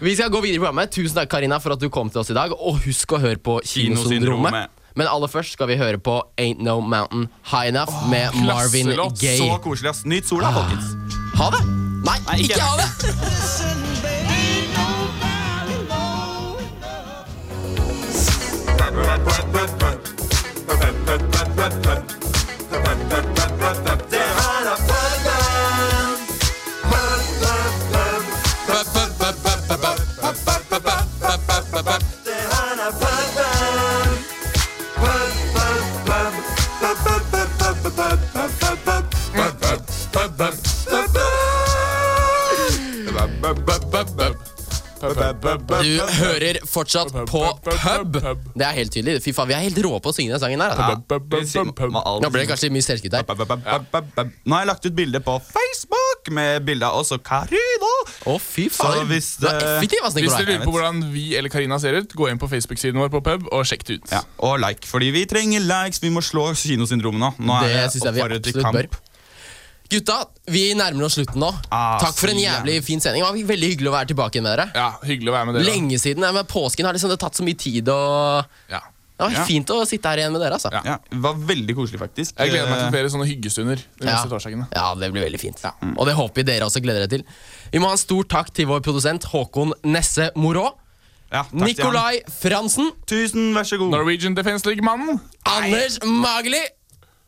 [SPEAKER 3] Vi skal gå videre i programmet. Tusen takk, Karina, for at du kom til oss i dag. Og husk å høre på
[SPEAKER 4] Kinosyndromet.
[SPEAKER 3] Kinosyndromet. Men aller først skal vi høre på Ain't No Mountain High Enough med Marvin
[SPEAKER 4] Klasselåt,
[SPEAKER 3] Gaye. Ah.
[SPEAKER 4] Så koselig, ass. Nyt sola, folkens.
[SPEAKER 3] Ha det! Nei,
[SPEAKER 4] ikke
[SPEAKER 3] ikke ha det!
[SPEAKER 14] Bye.
[SPEAKER 3] Du hører fortsatt på pub. Det er helt tydelig. Fy faen, vi er helt rå på å synge den sangen her.
[SPEAKER 4] Ja.
[SPEAKER 3] Altså. Nå ble det kanskje mye selvskritt der.
[SPEAKER 4] Nå har jeg lagt ut bilde på Facebook med bilde av oss og Karina.
[SPEAKER 3] Å, fy
[SPEAKER 4] faen. Så hvis det,
[SPEAKER 5] Hvis dere lurer på hvordan vi eller Karina ser ut, gå inn på Facebook-siden vår på pub og sjekk det ut.
[SPEAKER 4] Ja, og like, fordi vi trenger likes. Vi må slå kinosyndromet nå. Nå er
[SPEAKER 3] Det
[SPEAKER 4] det,
[SPEAKER 3] synes jeg vi
[SPEAKER 4] oppfordret til
[SPEAKER 3] absolutt
[SPEAKER 4] kamp.
[SPEAKER 3] bør. Gutta, vi nærmer oss slutten nå.
[SPEAKER 4] Ah,
[SPEAKER 3] Takk for en
[SPEAKER 4] så
[SPEAKER 3] jævlig fin sending. Det var veldig hyggelig å være tilbake med dere.
[SPEAKER 5] Ja, hyggelig å være med dere.
[SPEAKER 3] Lenge siden. ja, Men påsken har liksom det tatt så mye tid og Det var
[SPEAKER 5] Ja.
[SPEAKER 3] fint å sitte her igjen med dere, altså.
[SPEAKER 4] Ja, det var veldig koselig, faktisk.
[SPEAKER 5] Jeg gleder meg til flere sånne hyggestunder. de
[SPEAKER 3] Eh. Ja.
[SPEAKER 5] neste torsdagene.
[SPEAKER 3] Ja, det blir veldig fint. Og det håper vi dere også gleder dere til. Vi må ha en stor takk til vår produsent Håkon Nesse Morå.
[SPEAKER 4] til han.
[SPEAKER 3] Nikolai Fransen.
[SPEAKER 4] Tusen, vær så god.
[SPEAKER 5] Norwegian Defense League-mannen.
[SPEAKER 3] Anders Mageli.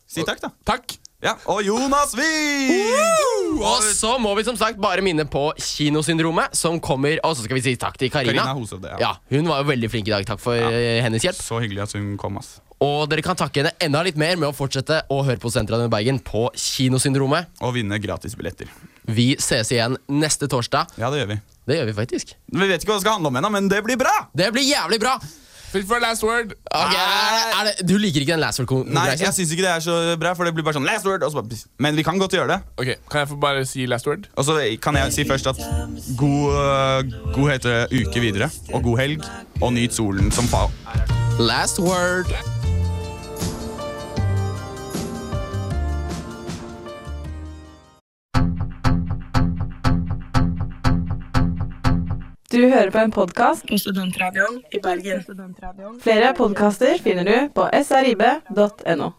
[SPEAKER 4] Si takk, da.
[SPEAKER 5] Takk.
[SPEAKER 4] Ja, Og Jonas Wiig!
[SPEAKER 3] Og så må vi som sagt bare minne på Kinosyndromet, som kommer. Og så skal vi si takk til Karina.
[SPEAKER 4] Karina Hoshovd, ja.
[SPEAKER 3] Hun var jo veldig flink i dag. Takk for eh, hennes hjelp.
[SPEAKER 4] Så hyggelig at hun kom, ass.
[SPEAKER 3] Og dere kan takke henne enda litt mer med å fortsette å høre på Sentralen i Bergen på Kinosyndromet.
[SPEAKER 4] Og vinne gratisbilletter.
[SPEAKER 3] Vi ses igjen neste torsdag.
[SPEAKER 4] Ja, det gjør vi.
[SPEAKER 3] Det gjør vi faktisk.
[SPEAKER 4] Vi vet ikke hva det skal handle om ennå, men det blir bra!
[SPEAKER 3] Det blir jævlig bra!
[SPEAKER 5] Fit for last word.
[SPEAKER 3] Ok, er det, er det, du liker ikke den last
[SPEAKER 4] Nei,
[SPEAKER 3] word-konkurransen?
[SPEAKER 4] jeg syns ikke det er så bra, for det blir bare sånn last word. Og så bare, pss. men vi kan godt gjøre det.
[SPEAKER 5] Ok, Kan jeg få bare si last word?
[SPEAKER 4] Og så Altså, kan jeg si først at god, øh, god heter uke videre, og god helg, og nyt solen som faen.
[SPEAKER 3] Last word.
[SPEAKER 14] Du hører på en podkast
[SPEAKER 16] på Studentradioen i Bergen.
[SPEAKER 14] Flere podkaster finner du på srib.no.